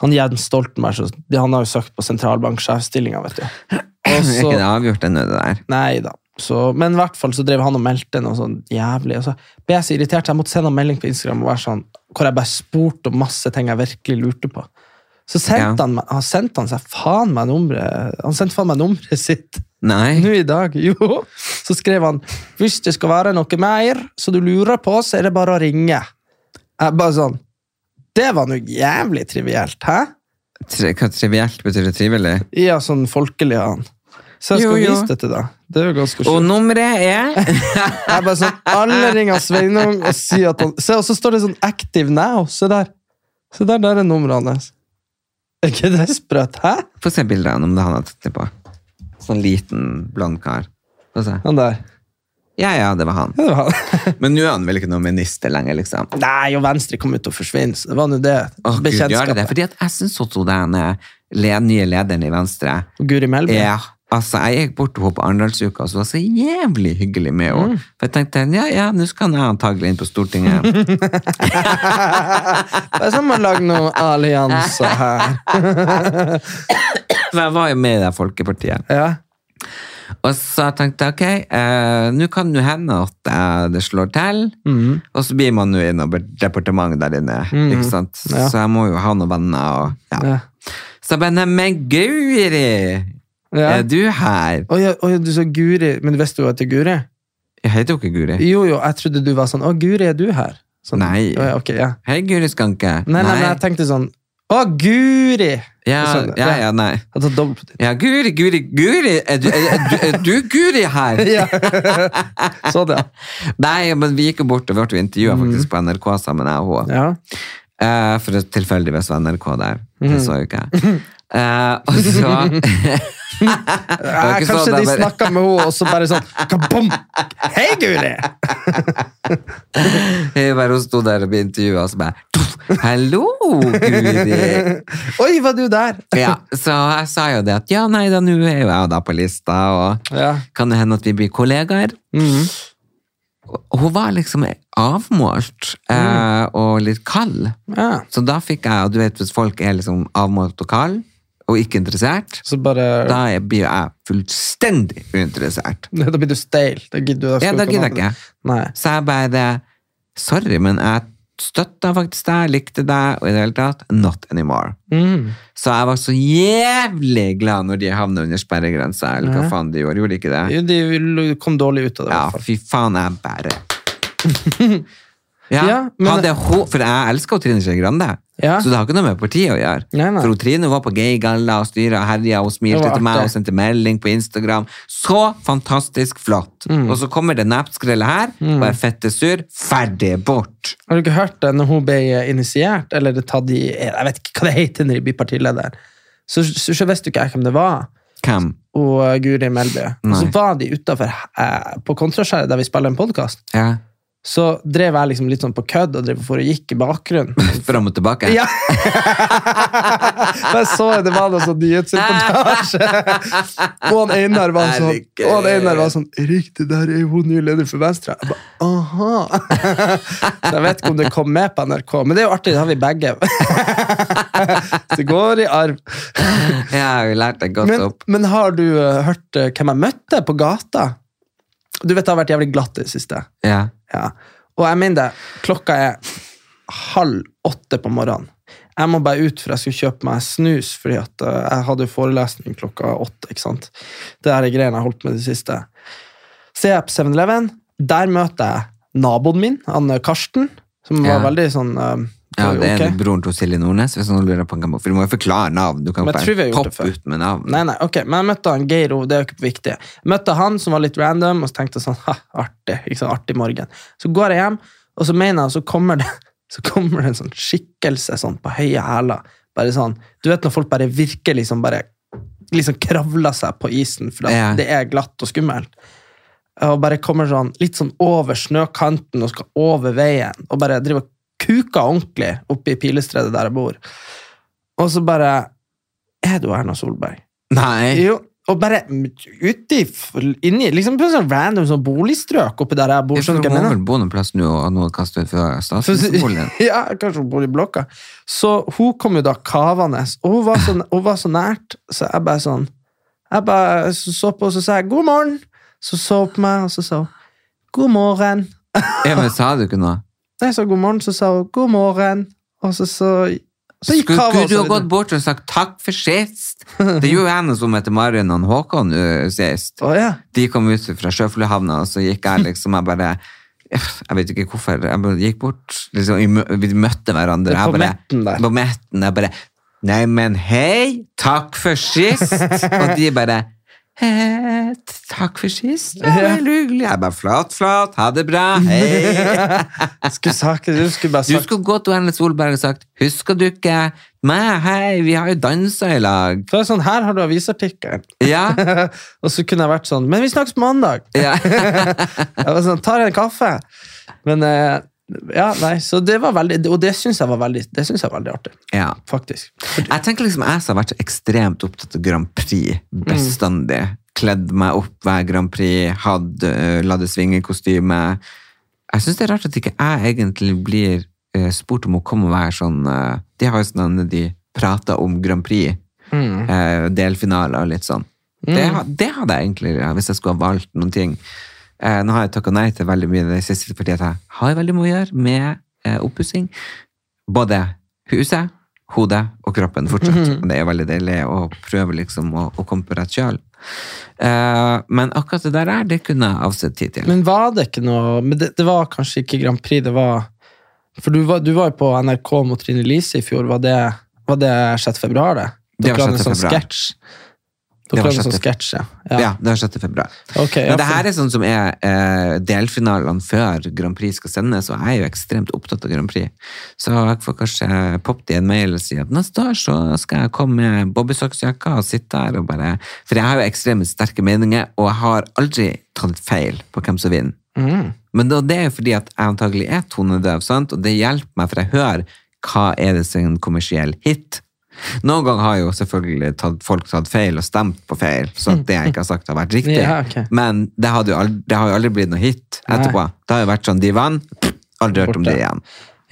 Speaker 3: han Jens Stoltenberg så, Han har jo søkt på sentralbanksjefstillinga, vet du. Og
Speaker 2: Vi er ikke
Speaker 3: så-
Speaker 2: det avgjort ennå, det der.
Speaker 3: Nei da. Så, men i hvert fall så drev han og meldte noe sånn jævlig. Og så ble jeg så irritert, så jeg måtte sende en melding på Instagram og være sånn, hvor jeg bare spurte om masse ting jeg virkelig lurte på. Så
Speaker 2: Ja.
Speaker 3: sendte han, meg- han sendte han seg faen meg nummeret Han sendte faen meg nummeret sitt <laughs>
Speaker 2: Nei.
Speaker 3: nå i dag. Jo. Så skrev han hvis det skal være noe mer så du lurer på, så er det bare å ringe. Jeg bare sånn Det var noe jævlig trivielt, hæ?
Speaker 2: Tri hva trivielt betyr det trivelig?
Speaker 3: Ja, sånn folkelig han. Så jeg
Speaker 2: Jo,
Speaker 3: skal
Speaker 2: jo.
Speaker 3: vise det til deg. Det er jo ganske sjukt.
Speaker 2: Og nummeret er
Speaker 3: Jeg bare sånn, Alle ringer Sveinung og sier at han Se, og så står det sånn 'Active now'. Se der. Se der, der er nummeret hans. Er ikke det sprøtt? Hæ?
Speaker 2: Få se bildene om det han har tatt det på. Sånn liten, blond kar. Få se.
Speaker 3: Han der.
Speaker 2: Ja, ja, det var han.
Speaker 3: Ja, det var han. <laughs>
Speaker 2: Men nå er han vel ikke noen minister lenger, liksom.
Speaker 3: Nei, og Venstre kom ut til å forsvinne, så det var nå det.
Speaker 2: Åh, Gud, gjør det det? Fordi at jeg syns også den eh, le- nye lederen i Venstre
Speaker 3: Og Guri Melby.
Speaker 2: Ja, altså Jeg gikk bort til henne på Arendalsuka, og så var det så jævlig hyggelig med henne. For jeg tenkte ja, ja, nå skal jeg antagelig inn på Stortinget.
Speaker 3: Det er som å lage noen allianser her.
Speaker 2: For jeg var jo med i det Folkepartiet.
Speaker 3: Ja.
Speaker 2: Og så tenkte jeg ok, eh, nå kan det jo hende at eh, det slår til.
Speaker 3: Mm.
Speaker 2: Og så blir man jo i noe departement der inne, ikke sant?
Speaker 3: Ja.
Speaker 2: Så jeg må jo ha noen venner. Og, ja.
Speaker 3: Ja.
Speaker 2: Så jeg bare nei, Men Guri,
Speaker 3: Ja.
Speaker 2: er du her?
Speaker 3: Å ja, å ja, du sa Guri, men visste du at det er Guri?
Speaker 2: Jeg heter jo ikke Guri.
Speaker 3: Jo, jo, jeg trodde du var sånn 'Å, Guri, er du her?' Sånn.
Speaker 2: Nei.
Speaker 3: Å, ja, ok, ja.
Speaker 2: Hei, Guri Skanke.
Speaker 3: Nei, nei, men jeg tenkte sånn 'Å, Guri!'
Speaker 2: ja,
Speaker 3: sånn,
Speaker 2: ja,
Speaker 3: ja.
Speaker 2: ja, nei.
Speaker 3: Jeg tar dobbelt på det.
Speaker 2: Ja, Guri, Guri, Guri! Er du, er, er, du- er du Guri her?
Speaker 3: <laughs> Ja. Så det.
Speaker 2: Nei, men vi gikk jo bort og vi ble intervjua
Speaker 3: Mm.
Speaker 2: faktisk på NRK sammen, jeg og hun.
Speaker 3: Ja.
Speaker 2: Eh, for det tilfeldigvis var NRK der.
Speaker 3: Mhm.
Speaker 2: Det så jo ikke jeg. Eh, og så
Speaker 3: <laughs>
Speaker 2: <laughs>
Speaker 3: Ja,
Speaker 2: ikke sånn
Speaker 3: Eh, kanskje
Speaker 2: at
Speaker 3: de
Speaker 2: jeg bare-
Speaker 3: snakka med henne, og så bare sånn kabom! Hei,
Speaker 2: <laughs>
Speaker 3: Guri!
Speaker 2: jeg bare hun sto der og ble intervjua, og så bare «Tuff! Hallo,
Speaker 3: <laughs>
Speaker 2: Guri!
Speaker 3: Oi, var du der?
Speaker 2: Ja, så jeg sa jo det at ja, nei da, nå er jo jeg da på lista, og
Speaker 3: Ja. Mhm.
Speaker 2: kan det hende at vi blir kollegaer? Og Hun var liksom avmålt eh, og litt kald.
Speaker 3: Mm. ja.
Speaker 2: Så da fikk jeg, og du vet hvis folk er liksom avmålt og kald, og ikke interessert,
Speaker 3: Så bare
Speaker 2: da er- blir jo jeg fullstendig uinteressert.
Speaker 3: <laughs> Da blir du steil. Da gidder du
Speaker 2: Ja, da gidder jeg ikke.
Speaker 3: Nei.
Speaker 2: Så jeg bare Sorry, men jeg støtta faktisk deg, likte deg, og i det hele tatt Not anymore.
Speaker 3: Mm.
Speaker 2: Så jeg var så jævlig glad når de havna under sperregrensa, eller hva faen de gjorde. Gjorde de ikke det?
Speaker 3: Jo, de vil- kom dårlig ut av det. i
Speaker 2: Ja,
Speaker 3: hvert fall.
Speaker 2: fy faen, jeg bare
Speaker 3: <laughs>
Speaker 2: Ja,
Speaker 3: Ja, men-
Speaker 2: hadde hun, For jeg elsker jo Trine Skei Grande,
Speaker 3: Ja.
Speaker 2: så det har ikke noe med partiet å gjøre.
Speaker 3: Nei, nei.
Speaker 2: For hun Trine var på gaygalla og styra og herja og
Speaker 3: Det
Speaker 2: smilte
Speaker 3: var
Speaker 2: til meg
Speaker 3: artig.
Speaker 2: og sendte melding på Instagram. Så fantastisk flott!
Speaker 3: Mm.
Speaker 2: Og så kommer det napskrellet her, og jeg er fette sur. Ferdig bort!
Speaker 3: Har du ikke hørt det når hun ble initiert, eller det tatt i Jeg vet ikke hva det heter når de blir partileder. Så, så, så visste jo ikke jeg hvem det var.
Speaker 2: Hvem?
Speaker 3: Og eh, Guri Melby. Og så
Speaker 2: Nei.
Speaker 3: var de utafor eh, på Kontraskjæret, der vi spiller en podkast.
Speaker 2: Ja.
Speaker 3: Så drev jeg liksom litt sånn på kødd og drev for og gikk i bakgrunnen.
Speaker 2: Fram og tilbake?
Speaker 3: <laughs> Ja! Jeg så det var noe sånn nyhetsreportasje. Og han Einar var sånn, og han Einar var sånn Erik, det der er jo hun nye leder for Venstre. Jeg bare, aha. <laughs> Så jeg vet ikke om det kom med på NRK, men det er jo artig, det har vi begge. <laughs> Så det går i arv.
Speaker 2: <laughs> Ja, vi lærte det godt
Speaker 3: Men,
Speaker 2: opp.
Speaker 3: men har du eh, hørt eh, hvem jeg møtte på gata? Du vet det har vært jævlig glatt i det siste.
Speaker 2: Ja.
Speaker 3: Ja. Og jeg mener det, klokka er halv åtte på morgenen. Jeg må bare ut, for jeg skulle kjøpe meg snus, fordi at eh, jeg hadde jo forelesning klokka åtte. ikke sant? Det her er greiene jeg har holdt med i det siste. Ser jeg på 7-Eleven, der møter jeg naboen min, han eh, Karsten, som var
Speaker 2: Ja.
Speaker 3: veldig sånn eh,
Speaker 2: Ja, det er
Speaker 3: ok.
Speaker 2: broren til Silje Nordnes. Hvis noen lurer på hvem For Du må jo forklare navn. Du kan
Speaker 3: Men jeg tror vi
Speaker 2: bare
Speaker 3: har gjort det
Speaker 2: poppe
Speaker 3: før.
Speaker 2: ut med navn.
Speaker 3: Nei, nei, ok, men jeg møtte han Geir Ove, det er jo ikke viktig. Jeg møtte han som var litt random, og så tenkte jeg sånn, ha, artig, ikke sånn artig morgen. Så går jeg hjem, og så mener jeg, så kommer det, <laughs> så kommer det en sånn skikkelse sånn på høye hæler, bare sånn, du vet når folk bare virkelig som bare liksom kravler seg på isen, for at
Speaker 2: Ja.
Speaker 3: det er glatt og skummelt. Og bare kommer sånn litt sånn over snøkanten og skal over veien, og bare driver og kuker ordentlig oppe i pilestredet der jeg bor. Og så bare Er du Erna Solberg?
Speaker 2: Nei.
Speaker 3: Jo, og bare uti inni, liksom på en sånn random sånn boligstrøk oppi der jeg bor.
Speaker 2: Jeg tror
Speaker 3: Skjønner du
Speaker 2: hun
Speaker 3: hva jeg
Speaker 2: har
Speaker 3: mener?
Speaker 2: vel boneplass nå, og noen kastet ut fra statsministerboligen.
Speaker 3: <laughs> ja, kanskje hun bor i blokka. Så hun kom jo da kavende, og hun var så, hun var så nært, så jeg bare sånn Jeg bare så, så på henne, så sa jeg 'god morgen', så så hun på meg, og så sa hun 'god morgen'.
Speaker 2: Ja, men sa du ikke
Speaker 3: <laughs>
Speaker 2: noe?
Speaker 3: Da jeg sa god morgen, så sa hun 'god morgen', og så så Så gikk
Speaker 2: Skulle,
Speaker 3: kava
Speaker 2: skulle du
Speaker 3: også
Speaker 2: ha gått
Speaker 3: videre.
Speaker 2: bort og sagt takk for sist? Det gjorde jeg nå som etter Marion og Håkon øh, sist.
Speaker 3: Å ja.
Speaker 2: De kom ut fra Sjøfuglehavna, og så gikk jeg liksom jeg bare Jeg vet ikke hvorfor. Jeg bare gikk bort. Liksom, vi mø- vi møtte hverandre.
Speaker 3: Det er
Speaker 2: jeg
Speaker 3: på
Speaker 2: bare,
Speaker 3: metten der.
Speaker 2: På metten. Jeg bare Nei, men hei! Takk for sist! og de bare «Eh, Takk for sist. Ja, Veldig hyggelig. Jeg bare flat, flat. Ha det bra. Hei!
Speaker 3: Skulle sagt, du skulle bare
Speaker 2: Du
Speaker 3: sagt
Speaker 2: skulle gått til Erlend Solberg og sagt 'Husker du ikke meg? Hei, vi har jo dansa i lag'.
Speaker 3: Så er det sånn, Her har du avisartikkelen.
Speaker 2: Ja.
Speaker 3: <laughs> og så kunne jeg vært sånn Men vi snakkes på mandag!
Speaker 2: <laughs> ja.
Speaker 3: <laughs> Jeg var sånn, tar en kaffe. Men eh, ja, nei, så det var veldig Og det syns jeg var veldig Det synes jeg var veldig artig,
Speaker 2: ja.
Speaker 3: faktisk.
Speaker 2: Jeg tenker liksom jeg som har vært så ekstremt opptatt av Grand Prix bestandig. Kledd meg opp hver Grand Prix, hadde uh, la det svinge-kostyme. Jeg syns det er rart at ikke jeg egentlig blir eh, spurt om å komme og være sånn eh, De har jo sånn en- de prater om Grand Prix, eh, delfinaler og litt sånn. Det, ha- det hadde jeg egentlig ja, hvis jeg skulle ha valgt noen ting. Eh, nå har jeg takka nei til veldig mye det siste fordi at jeg har veldig mye å gjøre med uh, oppussing både huset, hodet og kroppen fortsatt.
Speaker 3: Mhm.
Speaker 2: Og Det er veldig deilig å prøve liksom å, å komme på rett kjøl. Eh, men akkurat det der er, det kunne jeg avsett tid til.
Speaker 3: Men var det ikke noe Men det, det var kanskje ikke Grand Prix, det var For du var, du var jo på NRK mot Trine Lise i fjor. Var det, var det 6. februar, det?
Speaker 2: Det var
Speaker 3: Dere hadde en
Speaker 2: 6.
Speaker 3: sånn
Speaker 2: februar.
Speaker 3: sketsj.
Speaker 2: Det
Speaker 3: Dere
Speaker 2: var
Speaker 3: hadde en sånn
Speaker 2: 6.
Speaker 3: sketsj, ja.
Speaker 2: ja.
Speaker 3: ja.
Speaker 2: det er 6. februar.
Speaker 3: Ok, ja,
Speaker 2: Men det her
Speaker 3: for-
Speaker 2: er sånn som er eh, delfinalene før Grand Prix skal sendes, og jeg er jo ekstremt opptatt av Grand Prix. Så jeg får kanskje poppet i en mail og si at neste år så skal jeg komme med bobbysocksjakka og sitte her og bare For jeg har jo ekstremt sterke meninger, og jeg har aldri tatt feil på hvem som vinner.
Speaker 3: Mm.
Speaker 2: Men da, det er jo fordi at jeg antagelig er tonedøv, sant? og det hjelper meg, for jeg hører hva er det som er en kommersiell hit. Noen ganger har jo selvfølgelig tatt, folk tatt feil og stemt på feil, så at det jeg ikke har sagt har vært riktig.
Speaker 3: <laughs> Ja, ok.
Speaker 2: Men det, hadde jo aldri, det har jo aldri blitt noe hit etterpå. Det har jo vært sånn, de vant, aldri hørt om det
Speaker 3: Borte.
Speaker 2: igjen.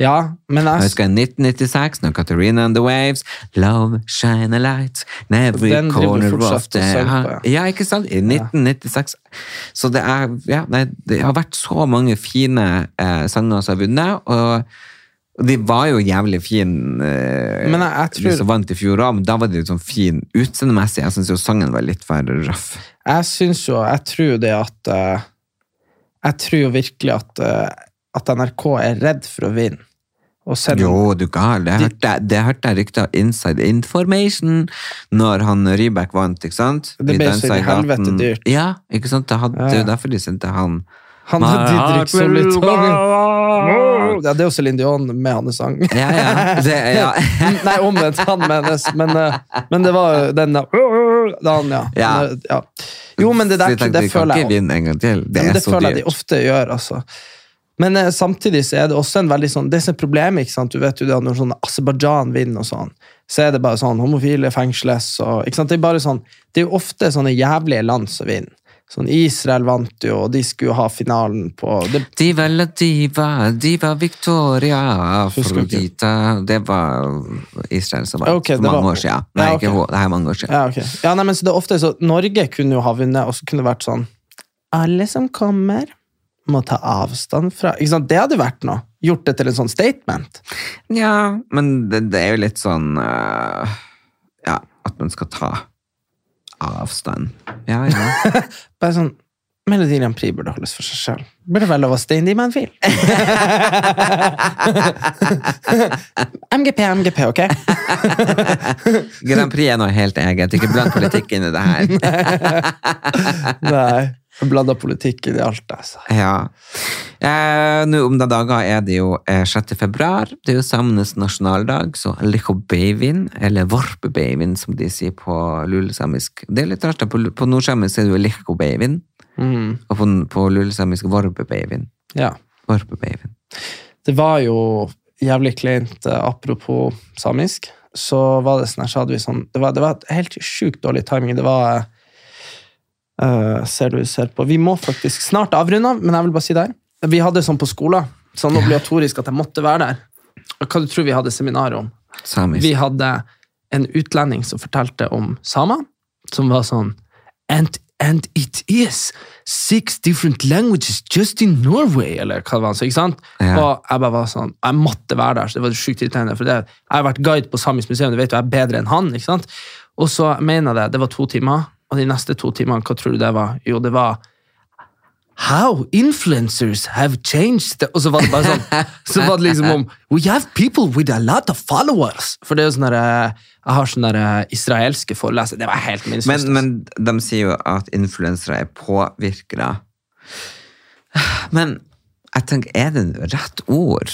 Speaker 3: ja, men
Speaker 2: Jeg
Speaker 3: jeg
Speaker 2: husker i 1996, når Katarina and the Waves, Love Shine a Light, in Every
Speaker 3: Den driver
Speaker 2: Corner
Speaker 3: fortsatt
Speaker 2: of the
Speaker 3: og sang på, ja.
Speaker 2: Ja, ikke sant? I 1996. Så det er ja, nei, Det har vært så mange fine eh, sanger som har vunnet, og og de var jo jævlig fine, eh,
Speaker 3: Men jeg- jeg tror-
Speaker 2: de som vant i fjor òg, men da var de litt sånn fin utseendemessig. Jeg syns jo sangen var litt for røff.
Speaker 3: Jeg syns jo Jeg tror jo det at eh, Jeg tror jo virkelig at, eh, at NRK er redd for å vinne. Og sender-
Speaker 2: Jo, du gal. Det hørte, jeg- det hørte jeg rykter om Inside Information når han Rybak vant, ikke sant?
Speaker 3: Det
Speaker 2: Vi
Speaker 3: ble så
Speaker 2: dansa
Speaker 3: i
Speaker 2: i gaten.
Speaker 3: helvete dyrt.
Speaker 2: Ja, ikke sant? Det, hadde,
Speaker 3: Ja.
Speaker 2: det er jo derfor de sendte han.
Speaker 3: Han
Speaker 2: My
Speaker 3: hadde
Speaker 2: heart
Speaker 3: Didrik som
Speaker 2: will
Speaker 3: litt
Speaker 2: go on.
Speaker 3: Ja, det er jo Céline Dion med hans sang. <laughs>
Speaker 2: Ja, ja. Det, ja.
Speaker 3: Nei, omvendt. Han menes. Men, eh, men det var jo den da. Han, ja.
Speaker 2: Ja.
Speaker 3: Men, eh, ja. <laughs> Jo, men det
Speaker 2: Så
Speaker 3: der
Speaker 2: jeg tenkte,
Speaker 3: det
Speaker 2: vi kan
Speaker 3: føler
Speaker 2: ikke
Speaker 3: jeg
Speaker 2: vinne en gang til. Det
Speaker 3: men
Speaker 2: er
Speaker 3: det
Speaker 2: så
Speaker 3: føler jeg
Speaker 2: dyrt.
Speaker 3: de ofte gjør, altså. Men eh, samtidig så er det også en veldig sånn Det som er problemet, ikke sant? Du vet jo det at når sånn Aserbajdsjan vinner og sånn, så er det bare sånn homofile fengsles og ikke sant? Det er bare sånn Det er jo ofte sånne jævlige land som vinner. Sånn Israel vant jo, og de skulle jo ha finalen på det,
Speaker 2: Diva la diva, diva Victoria,
Speaker 3: Husker ikke.
Speaker 2: Afrodita Det var Israel som var
Speaker 3: Ok, det
Speaker 2: for mange
Speaker 3: var-
Speaker 2: år siden. Nei,
Speaker 3: Ja, ok.
Speaker 2: ikke hun. Det her er mange år siden.
Speaker 3: Ja, ok. Ja, nei, men så det er ofte så Norge kunne jo ha vunnet, og så kunne det vært sånn Alle som kommer, må ta avstand fra Ikke sant? Det hadde vært noe. Gjort det til en sånn statement.
Speaker 2: Ja, men det, det er jo litt sånn øh, Ja, at man skal ta avstand. Ja, ja.
Speaker 3: Bare sånn Melodi Grand Prix burde holdes for seg sjøl. Burde være lov å stay in the <laughs> manfield. MGP, MGP, ok?
Speaker 2: Grand Prix er noe helt eget. Ikke blant politikk inn i det her.
Speaker 3: Nei. Blanda politikk i alt, altså.
Speaker 2: <laughs> Ja. Eh, Nå om noen dager er det jo eh, 6. februar. Det er jo samenes nasjonaldag, så Lichobeivin, eller Vorpebeivin, som de sier på lulesamisk. Det er litt rart, da. På, lu- på nordsamisk er det jo Lichobeivin, og på, på lulesamisk Vorpebeivin.
Speaker 3: Ja.
Speaker 2: Vorpebeivin.
Speaker 3: Det var jo jævlig kleint, eh, apropos samisk. Så var det sånn her, så hadde vi sånn Det var, det var et helt sjukt dårlig timing. Det var eh, eh, Ser du ser på Vi må faktisk snart avrunde, av, men jeg vil bare si det her. Vi hadde sånn på skolen, sånn obligatorisk at jeg måtte være der. Og Hva du tror vi hadde seminar om?
Speaker 2: Samisk.
Speaker 3: Vi hadde en utlending som fortalte om samer, som var sånn and, and it is six different languages just in Norway, eller hva det var, så, ikke sant?
Speaker 2: Ja.
Speaker 3: Og jeg bare var sånn, jeg måtte være der, så det var sjukt irriterende, for det, jeg har vært guide på Samisk museum, du vet jo, jeg er bedre enn han, ikke sant? Og så mener jeg det, det var to timer, og de neste to timene, hva tror du det var? Jo, det var How influencers have changed the- Og så var det bare sånn Så var det liksom om We have people with a lot of followers For det er jo sånn der eh, Jeg har sånne der eh, israelske forelesere Det var helt minst
Speaker 2: Men, men de sier jo at influensere er påvirkere. Men jeg tenker, er det rett ord?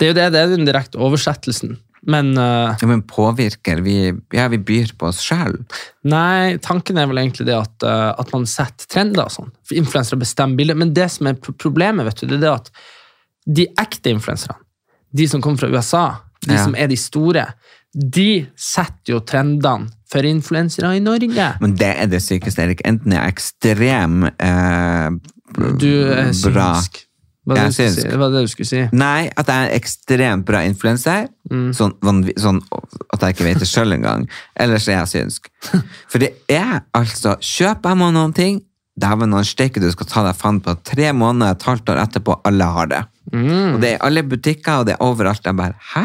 Speaker 3: Det er jo det, det er den direkte oversettelsen Men eh,
Speaker 2: Ja, men påvirker, vi, ja, vi byr på oss sjøl.
Speaker 3: Nei, tanken er vel egentlig det at, eh, at man setter trender og sånn. For influensere bestemmer bildet. Men det som er pro- problemet, vet du, det er det at de ekte influenserne, de som kommer fra USA, de
Speaker 2: Ja.
Speaker 3: som er de store, de setter jo trendene for influensere i Norge.
Speaker 2: Men det er det sykeste, Erik. Enten jeg er ekstrem eh, b-
Speaker 3: Du er
Speaker 2: bra
Speaker 3: synsk. Hva
Speaker 2: Jeg
Speaker 3: var
Speaker 2: er
Speaker 3: det du skulle si?
Speaker 2: synsk.
Speaker 3: Det var det du skulle si.
Speaker 2: Nei, at jeg er en ekstremt bra influenser. Sånn, vanvi- sånn at jeg ikke vet det sjøl engang. Ellers er jeg synsk. For det er altså Kjøper jeg meg noen ting, dæven han steike du skal ta deg faen på tre måneder, et halvt år etterpå, alle har det. Og det er i alle butikker, og det er overalt. Jeg bare Hæ?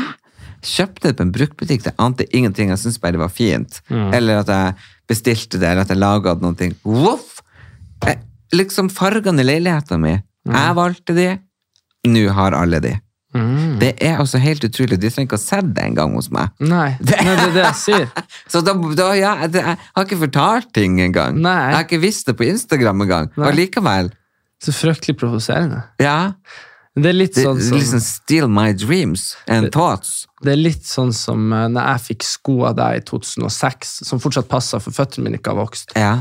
Speaker 2: Kjøpte det på en bruktbutikk, det ante ingenting. Jeg syntes bare det var fint. Eller at jeg bestilte det, eller at jeg laga noe. Voff! Jeg- Liksom fargene i leiligheten min. Jeg valgte de, nå har alle de.
Speaker 3: Mm.
Speaker 2: Det er altså helt utrolig. De trenger ikke å ha sett det engang hos meg.
Speaker 3: Nei,
Speaker 2: <laughs>
Speaker 3: det er det jeg sier.
Speaker 2: Så da, da ja, jeg, jeg har ikke fortalt ting engang.
Speaker 3: Nei.
Speaker 2: Jeg har ikke visst det på Instagram engang.
Speaker 3: Nei.
Speaker 2: Og likevel.
Speaker 3: Så fryktelig provoserende.
Speaker 2: Ja.
Speaker 3: Det er litt
Speaker 2: Det,
Speaker 3: sånn som
Speaker 2: liksom steal my dreams and thoughts.
Speaker 3: Det er litt sånn som eh, når jeg fikk sko av deg i 2006, som fortsatt passet for føttene mine ikke har vokst.
Speaker 2: Ja.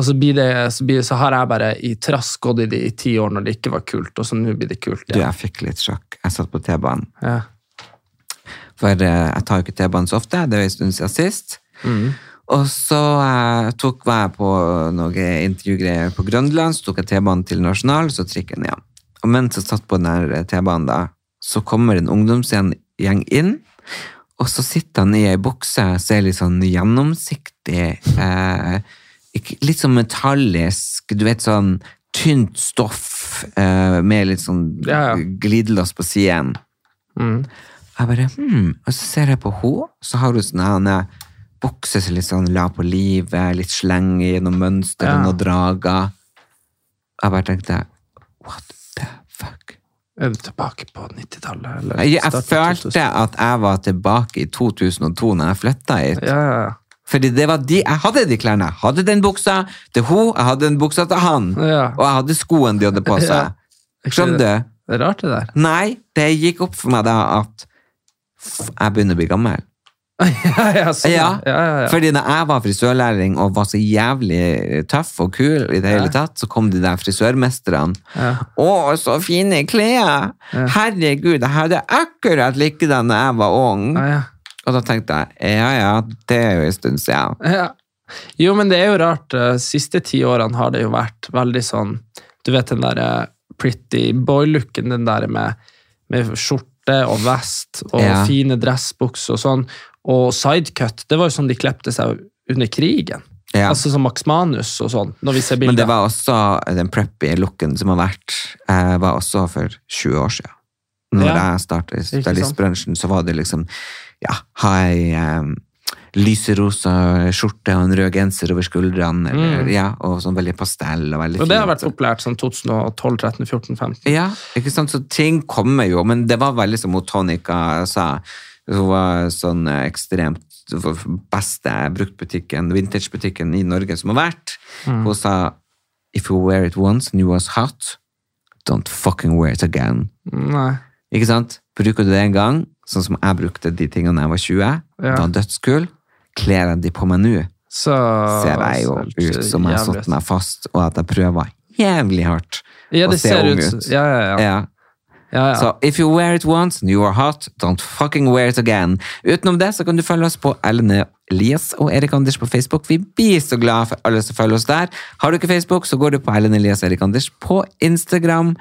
Speaker 3: Og så, blir det, så, blir, så har jeg bare i trass gått i det i ti år når det ikke var kult, og så nå blir det kult
Speaker 2: Du,
Speaker 3: igjen.
Speaker 2: jeg fikk litt sjokk. Jeg satt på T-banen.
Speaker 3: Ja.
Speaker 2: For eh, jeg tar jo ikke T-banen så ofte. Det var en stund siden sist.
Speaker 3: Mm.
Speaker 2: Og så eh, tok, var jeg på noe intervjugreier på Grønland, så tok jeg T-banen til Nasjonal, så trikken igjen. Og mens jeg satt på den her eh, T-banen da, så kommer en ungdomsgjeng inn, og så sitter han i ei bukse, ser litt sånn gjennomsiktig, eh, ikke- litt sånn metallisk, du vet sånn tynt stoff, eh, med litt sånn
Speaker 3: Ja, ja.
Speaker 2: glidelås på siden.
Speaker 3: Mm.
Speaker 2: Jeg bare, hmm. Og så ser jeg på henne, så har hun sånn en bukse som litt sånn la på livet, litt sleng i noen mønster og
Speaker 3: Ja.
Speaker 2: noen drager. Jeg bare tenkte, what the fuck?
Speaker 3: Er du tilbake på 90-tallet? eller
Speaker 2: Jeg, jeg
Speaker 3: starten av
Speaker 2: følte at jeg var tilbake i 2002 når jeg flytta hit.
Speaker 3: 2000? Ja, ja, ja.
Speaker 2: Fordi det var de, jeg hadde de klærne. Jeg hadde den buksa til hun, jeg hadde den buksa til han.
Speaker 3: Ja.
Speaker 2: Og jeg hadde skoene de hadde på
Speaker 3: Ja.
Speaker 2: seg. Skjønner du?
Speaker 3: Det er rart, det der.
Speaker 2: Nei, det gikk opp for meg da at f- jeg begynner å bli gammel.
Speaker 3: ja, ja, sånn.
Speaker 2: <laughs> Ja,
Speaker 3: ja, ja, ja.
Speaker 2: fordi når jeg var frisørlærling og var så jævlig tøff og kul i det hele tatt, så kom de der frisørmesterne.
Speaker 3: Ja.
Speaker 2: Å, så fine klær! Herregud, jeg hadde akkurat likedan da jeg var ung.
Speaker 3: Ja, ja.
Speaker 2: Og da tenkte jeg, ja ja, det er jo en stund siden.
Speaker 3: Ja. Jo, men det er jo rart. eh, Siste ti årene har det jo vært veldig sånn Du vet den der eh, pretty boy-looken, den der med, med skjorte og vest og
Speaker 2: Ja.
Speaker 3: fine dressbukser og sånn. Og sidecut. Det var jo sånn de klepte seg under krigen.
Speaker 2: Ja.
Speaker 3: Altså som Max Manus og sånn, når vi ser
Speaker 2: Men det
Speaker 3: bilder.
Speaker 2: var også den preppy looken som har vært, eh, var også for 20 år siden. Når
Speaker 3: Ja.
Speaker 2: jeg startet i
Speaker 3: sant?
Speaker 2: stylistbransjen, så var det liksom ja, ha ei em, lyserosa skjorte og en rød genser over skuldrene, eller, ja, og sånn veldig pastell og veldig
Speaker 3: Mm. og det har vært
Speaker 2: fint.
Speaker 3: populært sånn 2012, 13, 14, 15.
Speaker 2: Ja, ikke sant? Så ting kommer jo, men det var veldig som hun Tonica sa. Hun var sånn eh, ekstremt
Speaker 3: Mm.
Speaker 2: beste bruktbutikken, vintagebutikken i Norge som har vært. Hun sa If you wear it once and you was hot, don't fucking wear it again.
Speaker 3: Nei.
Speaker 2: Ikke sant? Bruker du det en gang, sånn som jeg brukte de tingene da jeg var 20,
Speaker 3: Ja.
Speaker 2: da dødskul, kler jeg de på meg nå,
Speaker 3: Så
Speaker 2: ser jeg jo ut som jeg har satt meg fast, og at jeg prøver jævlig hardt
Speaker 3: ja,
Speaker 2: å
Speaker 3: det
Speaker 2: se
Speaker 3: ser
Speaker 2: ung
Speaker 3: ut.
Speaker 2: ut.
Speaker 3: Ja, ja, ja.
Speaker 2: Ja.
Speaker 3: ja, ja.
Speaker 2: Så if you wear it once and you are hot, don't fucking wear it again. Utenom det så kan du følge oss på Ellen Elias og Erik Anders på Facebook. Vi blir så glad for alle som følger oss der. Har du ikke Facebook, så går du på Ellen Elias og Erik Anders på Instagram.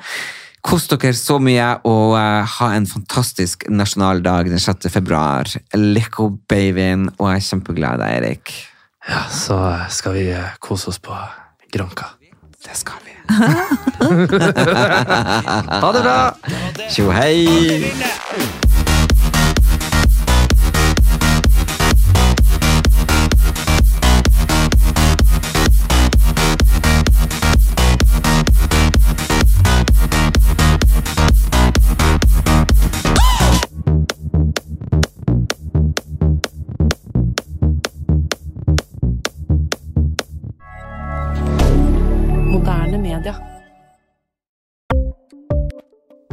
Speaker 2: Kos dere så mye, og eh, ha en fantastisk nasjonaldag den 6. februar. Leco babyen, og jeg er kjempeglad i deg, Erik.
Speaker 3: ja, så skal vi eh, kose oss på Granka.
Speaker 2: Det skal vi. ha det bra! Tjo hei!
Speaker 4: Moderne media.